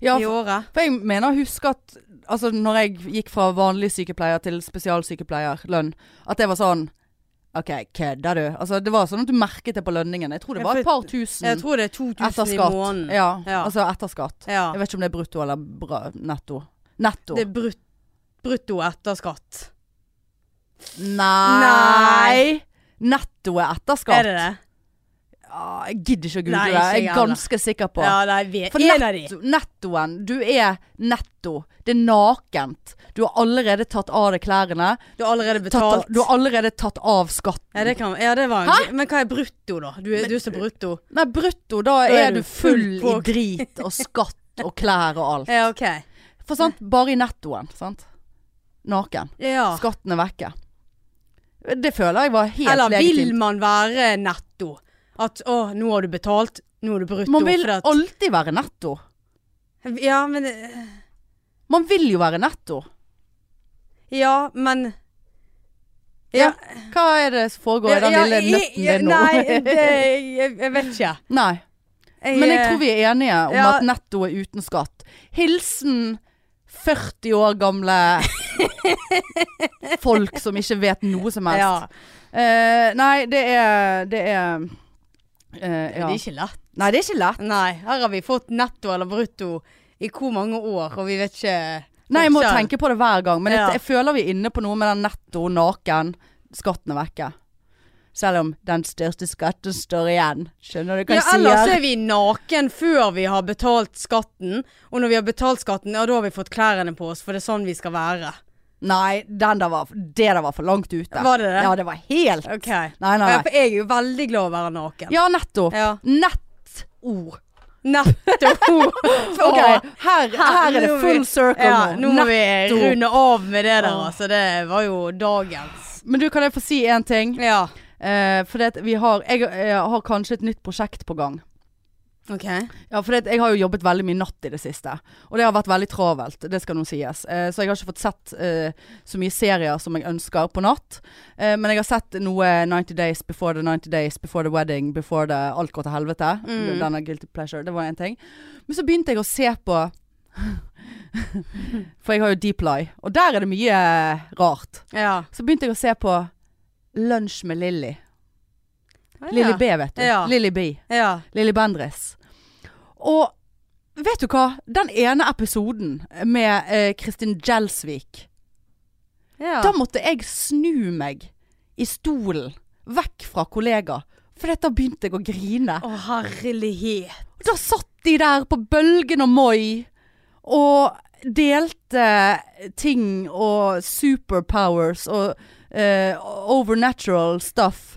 Speaker 1: Ja,
Speaker 2: i
Speaker 1: for,
Speaker 2: året?
Speaker 1: for jeg mener å huske at altså, når jeg gikk fra vanlig sykepleier til spesialsykepleierlønn, at det var sånn OK, kødder du? Altså, det var sånn at du merket det på lønningen. Jeg tror det
Speaker 2: Ja,
Speaker 1: var et
Speaker 2: for-
Speaker 1: par tusen
Speaker 2: Jeg tror det er 2000
Speaker 1: etter
Speaker 2: i
Speaker 1: skatt.
Speaker 2: måneden.
Speaker 1: Mm. Ja,
Speaker 2: Ja.
Speaker 1: altså etter skatt.
Speaker 2: Ja.
Speaker 1: Jeg vet ikke om det er brutto eller bra, netto. Netto.
Speaker 2: Det er brut brutto etter skatt.
Speaker 1: Nei! Netto er etter skatt.
Speaker 2: Er det det?
Speaker 1: Ja, jeg gidder ikke å google
Speaker 2: Nei,
Speaker 1: det.
Speaker 2: ikke
Speaker 1: Jeg
Speaker 2: jeg
Speaker 1: er ganske sikker på.
Speaker 2: Ja, nei, vi
Speaker 1: For
Speaker 2: en av de.
Speaker 1: netto, nettoen Du er netto. Det er nakent. Du har allerede tatt av deg klærne.
Speaker 2: Du har allerede
Speaker 1: Tatt av,
Speaker 2: betalt.
Speaker 1: du har allerede tatt av skatten.
Speaker 2: ja, det kan, ja, det var en, Men hva er brutto, da? Du, er- du er så brutto.
Speaker 1: Nei, brutto, da,
Speaker 2: Da
Speaker 1: er du full i
Speaker 2: på-
Speaker 1: drit og skatt og klær og alt.
Speaker 2: Ja, OK.
Speaker 1: For sant, bare i nettoen. Sant? Naken.
Speaker 2: Ja.
Speaker 1: Skatten er vekke. Det føler jeg var helt
Speaker 2: Eller
Speaker 1: legitimt.
Speaker 2: vil man være netto? At å, nå har du betalt, nå er du brutto.
Speaker 1: Man vil
Speaker 2: fordi at-
Speaker 1: alltid være netto.
Speaker 2: Ja, men eh,
Speaker 1: Man vil jo være netto.
Speaker 2: Ja, men
Speaker 1: Ja. Hva er det som foregår i den lille
Speaker 2: i-
Speaker 1: nøtten din nå?
Speaker 2: Nei, det, jeg, jeg vet ikke.
Speaker 1: Nei. Men jeg tror vi er enige om
Speaker 2: ja.
Speaker 1: at netto er uten skatt. Hilsen 40 år gamle folk som ikke vet noe som helst.
Speaker 2: Ja.
Speaker 1: Eh, nei, det er Det er eh, ja.
Speaker 2: Det er ikke lett.
Speaker 1: Nei, det er ikke lett.
Speaker 2: Nei, her har vi fått netto eller brutto i hvor mange år, og vi vet ikke
Speaker 1: Nei, jeg må
Speaker 2: forskjell.
Speaker 1: tenke på det hver gang. Men
Speaker 2: Ja.
Speaker 1: jeg, jeg føler vi er inne på noe med den netto, naken, skatten er vekke. Selv om den største skatten står igjen. Skjønner du hva
Speaker 2: Ja,
Speaker 1: jeg sier?
Speaker 2: ellers er vi naken før vi har betalt skatten, og når vi har betalt skatten, ja da har vi fått klærne på oss, for det er sånn vi skal være.
Speaker 1: Nei, den der var, det der var for langt ute.
Speaker 2: Var det det?
Speaker 1: Ja, det var helt
Speaker 2: Ok.
Speaker 1: Nei, nei,
Speaker 2: Ja,
Speaker 1: nei.
Speaker 2: for jeg er jo veldig glad i å være naken.
Speaker 1: Ja, netto.
Speaker 2: Ja.
Speaker 1: Netto.
Speaker 2: Netto.
Speaker 1: Ok, her, her er det
Speaker 2: nå må vi-
Speaker 1: full circle
Speaker 2: ja,
Speaker 1: nå.
Speaker 2: nå må vi
Speaker 1: Netto.
Speaker 2: runde av med det der,
Speaker 1: Åh.
Speaker 2: altså. Det var jo dagens.
Speaker 1: Men du, kan jeg få si én ting?
Speaker 2: Ja.
Speaker 1: Eh, for det at vi har jeg, eh, har kanskje et nytt prosjekt på gang.
Speaker 2: Ok.
Speaker 1: Ja, for det, at jeg har jo jobbet veldig mye natt i det siste. Og det har vært veldig travelt, det skal nå sies. Eh, så jeg har ikke fått sett eh, så mye serier som jeg ønsker på natt. Eh, men jeg har sett noe 90 Days Before the 90 Days, Before the Wedding, Before the Alt går til helvete.
Speaker 2: Mm.
Speaker 1: Denne Guilty Pleasure, det var én ting. Men så begynte jeg å se på For jeg har jo Deep Lie, og der er det mye eh, rart.
Speaker 2: Ja.
Speaker 1: Så begynte jeg å se på Lunsj med Lilly. Lilly
Speaker 2: Ah, Ja.
Speaker 1: B, vet du.
Speaker 2: Ja.
Speaker 1: Lilly B.
Speaker 2: Ja.
Speaker 1: Lilly Bendriss. Og vet du hva? Den ene episoden med eh, Kristin Gjelsvik
Speaker 2: ja.
Speaker 1: Da måtte jeg snu meg i stolen, vekk fra kollega. For da begynte jeg å grine.
Speaker 2: Å, herlighet.
Speaker 1: Og da satt de der på Bølgen og Moi og delte ting og superpowers og eh, overnatural stuff.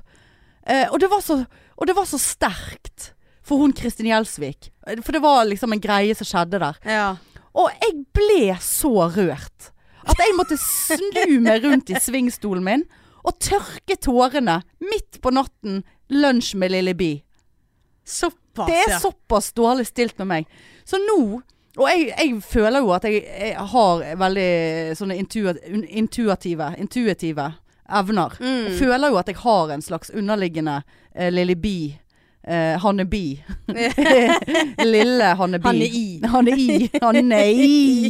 Speaker 1: Eh, og, det var så, og det var så sterkt for hun Kristin Gjelsvik. Eh, For det var liksom en greie som skjedde der.
Speaker 2: Ja.
Speaker 1: Og jeg ble så rørt at jeg måtte snu meg rundt i svingstolen min og tørke tårene midt på natten. Lunsj med Lille Bi.
Speaker 2: Såpass,
Speaker 1: Det
Speaker 2: ja.
Speaker 1: er såpass dårlig stilt med meg. Så nå Og jeg, jeg føler jo at jeg, jeg har veldig sånne intua- un- intuitive, intuitive evner. Jeg
Speaker 2: Mm.
Speaker 1: føler jo at jeg har en slags underliggende eh, Lille Bi. Eh, Hanne Bi. Lille Hanne Bi.
Speaker 2: Han
Speaker 1: Han er
Speaker 2: er i.
Speaker 1: i. Han er i.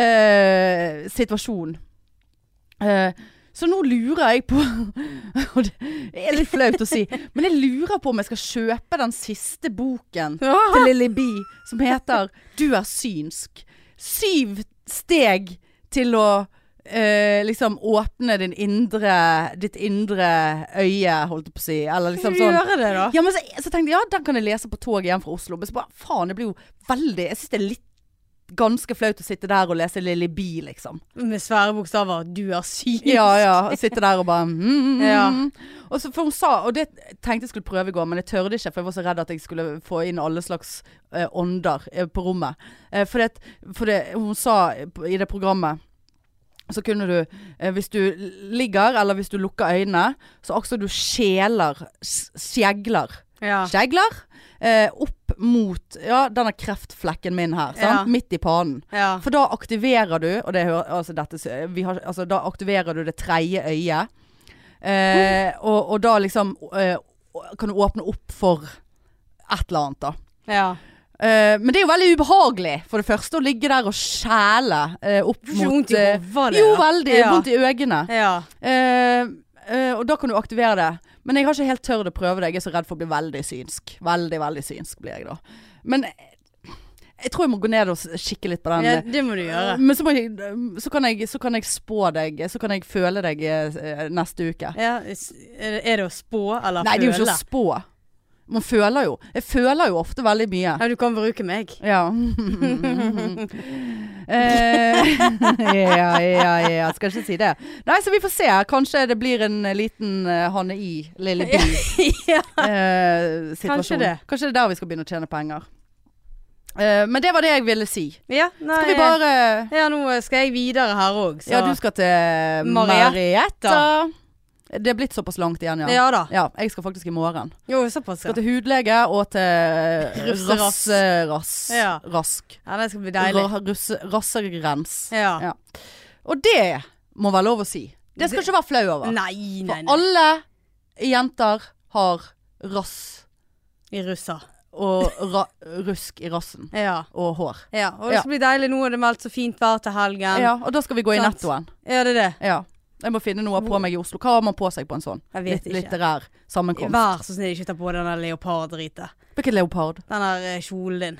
Speaker 1: Eh, situasjon. Eh, så nå lurer jeg på Og det er litt flaut å si, men jeg lurer på om jeg skal kjøpe den siste boken til Lilly B som heter 'Du er synsk'. Syv steg til å eh, liksom åpne din indre, ditt indre øye, holdt jeg på å si. Eller liksom sånn
Speaker 2: Gjøre det, da.
Speaker 1: ja, men så, så tenkte jeg, ja, den kan jeg lese på toget hjem fra Oslo. Men så bare, faen, det blir jo veldig Jeg synes det er litt ganske flaut å sitte der og lese Lilly Bi, liksom.
Speaker 2: Med svære bokstaver. Du er syk.
Speaker 1: Ja, ja. og Sitte der og bare mm, mm, mm.
Speaker 2: Ja.
Speaker 1: Og så, for hun sa, og det tenkte jeg skulle prøve i går, men jeg tørde ikke, for jeg var så redd at jeg skulle få inn alle slags eh, ånder eh, på rommet. Eh, for, det, for det hun sa i det programmet så kunne du, eh, hvis du ligger, eller hvis du lukker øynene, så akkurat du skjeler, s- skjegler
Speaker 2: Ja.
Speaker 1: skjegler eh, opp mot ja, denne kreftflekken min her. Sant?
Speaker 2: Ja.
Speaker 1: Midt i panen.
Speaker 2: Ja.
Speaker 1: For da aktiverer du Og det hører, altså dette, s- vi har, altså, da aktiverer du det tredje øyet. Eh, og, og da liksom eh, kan du åpne opp for et eller annet, da.
Speaker 2: ja.
Speaker 1: Eh, men det er jo veldig ubehagelig, for det første, å ligge der og skjæle eh, opp
Speaker 2: Du får ikke vondt
Speaker 1: mot eh,
Speaker 2: i hodet av det,
Speaker 1: Jo,
Speaker 2: da.
Speaker 1: veldig.
Speaker 2: Ja.
Speaker 1: Vondt i øynene.
Speaker 2: Ja.
Speaker 1: Eh, eh, og da kan du aktivere det. Men jeg har ikke helt tørt å prøve det. Jeg er så redd for å bli veldig synsk. Veldig, veldig synsk blir jeg da. Men jeg, jeg tror jeg må gå ned og s- kikke litt på den.
Speaker 2: ja. Det må du gjøre.
Speaker 1: Eh, Men så, må jeg, så, kan jeg, så kan jeg spå deg, så kan jeg føle deg eh, neste uke.
Speaker 2: Ja. s- Er det- er det å spå eller
Speaker 1: Nei, det er jo ikke
Speaker 2: føle?
Speaker 1: å spå. Man føler jo. Jeg føler jo ofte veldig mye.
Speaker 2: Ja, du kan bruke meg.
Speaker 1: Ja. Eh, ja, ja, ja. Skal ikke si det. Nei, så vi får se. Kanskje det blir en liten eh, Hanne I, Lille Bi.
Speaker 2: ja.
Speaker 1: eh, situasjon.
Speaker 2: Kanskje det.
Speaker 1: Kanskje det er der vi skal begynne å tjene penger. Eh, men det var det jeg ville si.
Speaker 2: ja. Nei,
Speaker 1: Skal vi bare
Speaker 2: Ja, nå skal jeg videre her òg, så
Speaker 1: Ja, du skal til
Speaker 2: Marietta.
Speaker 1: Marietta. Det er blitt såpass langt igjen, ja.
Speaker 2: Ja da.
Speaker 1: Ja, jeg skal faktisk i morgen.
Speaker 2: Jo, såpass, ja.
Speaker 1: Skal til hudlege og til
Speaker 2: Russerass.
Speaker 1: rasserass.
Speaker 2: Ja.
Speaker 1: Rask.
Speaker 2: Ja, det skal bli deilig.
Speaker 1: Ra- russe- Rassegrens.
Speaker 2: Ja.
Speaker 1: Ja. Og det må være lov å si. Det skal
Speaker 2: Det-
Speaker 1: ikke være flau over.
Speaker 2: Nei, nei,
Speaker 1: For
Speaker 2: nei.
Speaker 1: alle jenter har rass
Speaker 2: I russer.
Speaker 1: og ra rusk i rassen.
Speaker 2: Ja.
Speaker 1: og hår.
Speaker 2: ja. Og det
Speaker 1: Ja.
Speaker 2: skal bli deilig. Nå er det meldt så fint vær til helgen.
Speaker 1: Ja, og da skal vi gå i
Speaker 2: Sant.
Speaker 1: nettoen.
Speaker 2: Er det det?
Speaker 1: Ja. Jeg må finne noe på meg i Oslo. Hva har man på seg på en sånn
Speaker 2: Jeg vet
Speaker 1: litt,
Speaker 2: ikke.
Speaker 1: litterær sammenkomst?
Speaker 2: Vær så snill, ikke ta på den der leoparddriten.
Speaker 1: Hvilken leopard?
Speaker 2: Den der eh, kjolen din.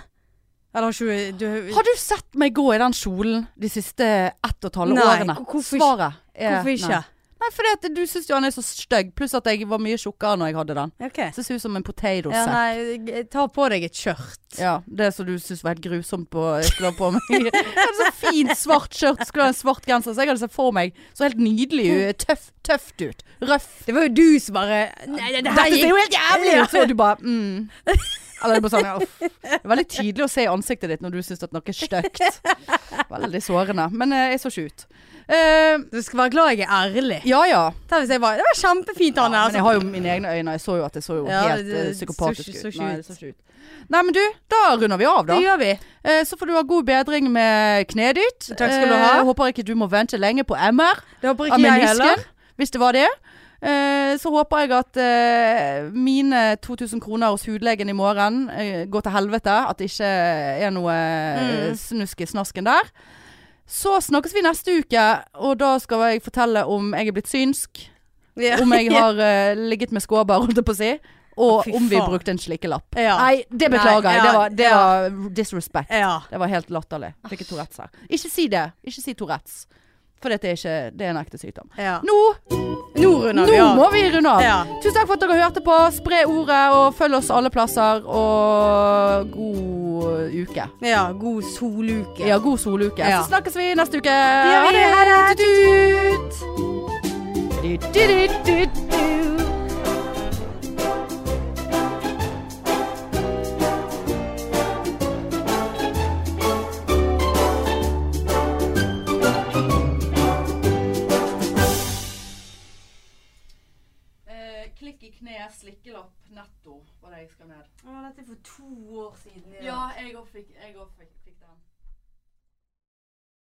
Speaker 2: Eller har ikke du, du
Speaker 1: Har du sett meg gå i den kjolen de siste ett og et halvt
Speaker 2: Nei,
Speaker 1: årene?
Speaker 2: hvor- hvorfor ikke?
Speaker 1: Svaret er
Speaker 2: Hvorfor ikke?
Speaker 1: nei. Nei, fordi at du syns jo han er så stygg. Pluss at jeg var mye tjukkere når jeg hadde den.
Speaker 2: OK.
Speaker 1: Jeg Synes ut som en potato
Speaker 2: Ja,
Speaker 1: sack.
Speaker 2: nei, g- ta på deg et skjørt.
Speaker 1: Ja, det som du syns var helt grusomt på jeg skulle ha på meg. Jeg hadde så fint svart skjørt, skulle ha en svart genser. Så jeg hadde sett for meg så helt nydelig ut. Tøff, tøft ut. Røff.
Speaker 2: Det var jo du som bare Nei, det, det her
Speaker 1: Dette ser jo
Speaker 2: gikk
Speaker 1: helt jævlig ut! Så du bare mm. Eller bare sånn, ja, uff. Det er veldig tydelig å se i ansiktet ditt når du syns at noe er stygt. Veldig sårende. Men eh, jeg så ikke ut. Eh,
Speaker 2: Du skal være glad jeg er ærlig.
Speaker 1: ja ja.
Speaker 2: Ta hvis jeg bare Det var kjempefint,
Speaker 1: ja
Speaker 2: Anne.
Speaker 1: men
Speaker 2: altså.
Speaker 1: jeg har jo mine egne øyne. Jeg så jo at jeg så jo
Speaker 2: Ja,
Speaker 1: helt eh,
Speaker 2: det-
Speaker 1: psykopatisk
Speaker 2: så ikke-
Speaker 1: ut.
Speaker 2: så ikke
Speaker 1: Nei,
Speaker 2: ut.
Speaker 1: det så ikke ut. Nei, men du, da runder vi av, da.
Speaker 2: Det gjør vi.
Speaker 1: Eh, så får du ha god bedring med kneet ditt.
Speaker 2: Takk skal du ha.
Speaker 1: Eh, håper ikke du må vente lenge på MR.
Speaker 2: Det håper
Speaker 1: av
Speaker 2: ikke jeg
Speaker 1: menisken,
Speaker 2: heller.
Speaker 1: hvis det var det. Eh, så håper jeg at eh, mine 2000 kroner hos hudlegen i morgen eh, går til helvete. At det ikke er noe eh,
Speaker 2: Mm.
Speaker 1: snusk i snasken der. Så snakkes vi neste uke, og da skal jeg fortelle om jeg er blitt synsk.
Speaker 2: Ja.
Speaker 1: Om jeg har eh, ligget med skåber, holdt jeg på å si. Og
Speaker 2: Fy
Speaker 1: om vi
Speaker 2: faen.
Speaker 1: brukte en slikkelapp.
Speaker 2: Ja.
Speaker 1: Nei, det beklager jeg.
Speaker 2: Nei, ja,
Speaker 1: Det var, det
Speaker 2: ja. Ah.
Speaker 1: var disrespect.
Speaker 2: ja.
Speaker 1: Det var helt latterlig. Fikk ikke Tourettes her. Ikke si det. Ikke si Tourettes. For dette er ikke Det er en ekte sykdom.
Speaker 2: ja.
Speaker 1: Nå,
Speaker 2: Nå runder vi
Speaker 1: nå
Speaker 2: av.
Speaker 1: må vi runde av.
Speaker 2: Ja.
Speaker 1: Tusen takk for at dere hørte på. Spre ordet og følg oss alle plasser. Og god uke.
Speaker 2: Ja, god soluke.
Speaker 1: Ja, god soluke.
Speaker 2: Ja.
Speaker 1: Så snakkes vi neste uke.
Speaker 2: gjør vi.
Speaker 1: Ha det. Tut-tut. Du-du-du-du-du. Eh, Klikk i kne, slikkelapp, netto, var det jeg skrev ned.
Speaker 2: Å, dette er for to år siden.
Speaker 1: Ja, jeg òg fikk, jeg også fikk, fikk den.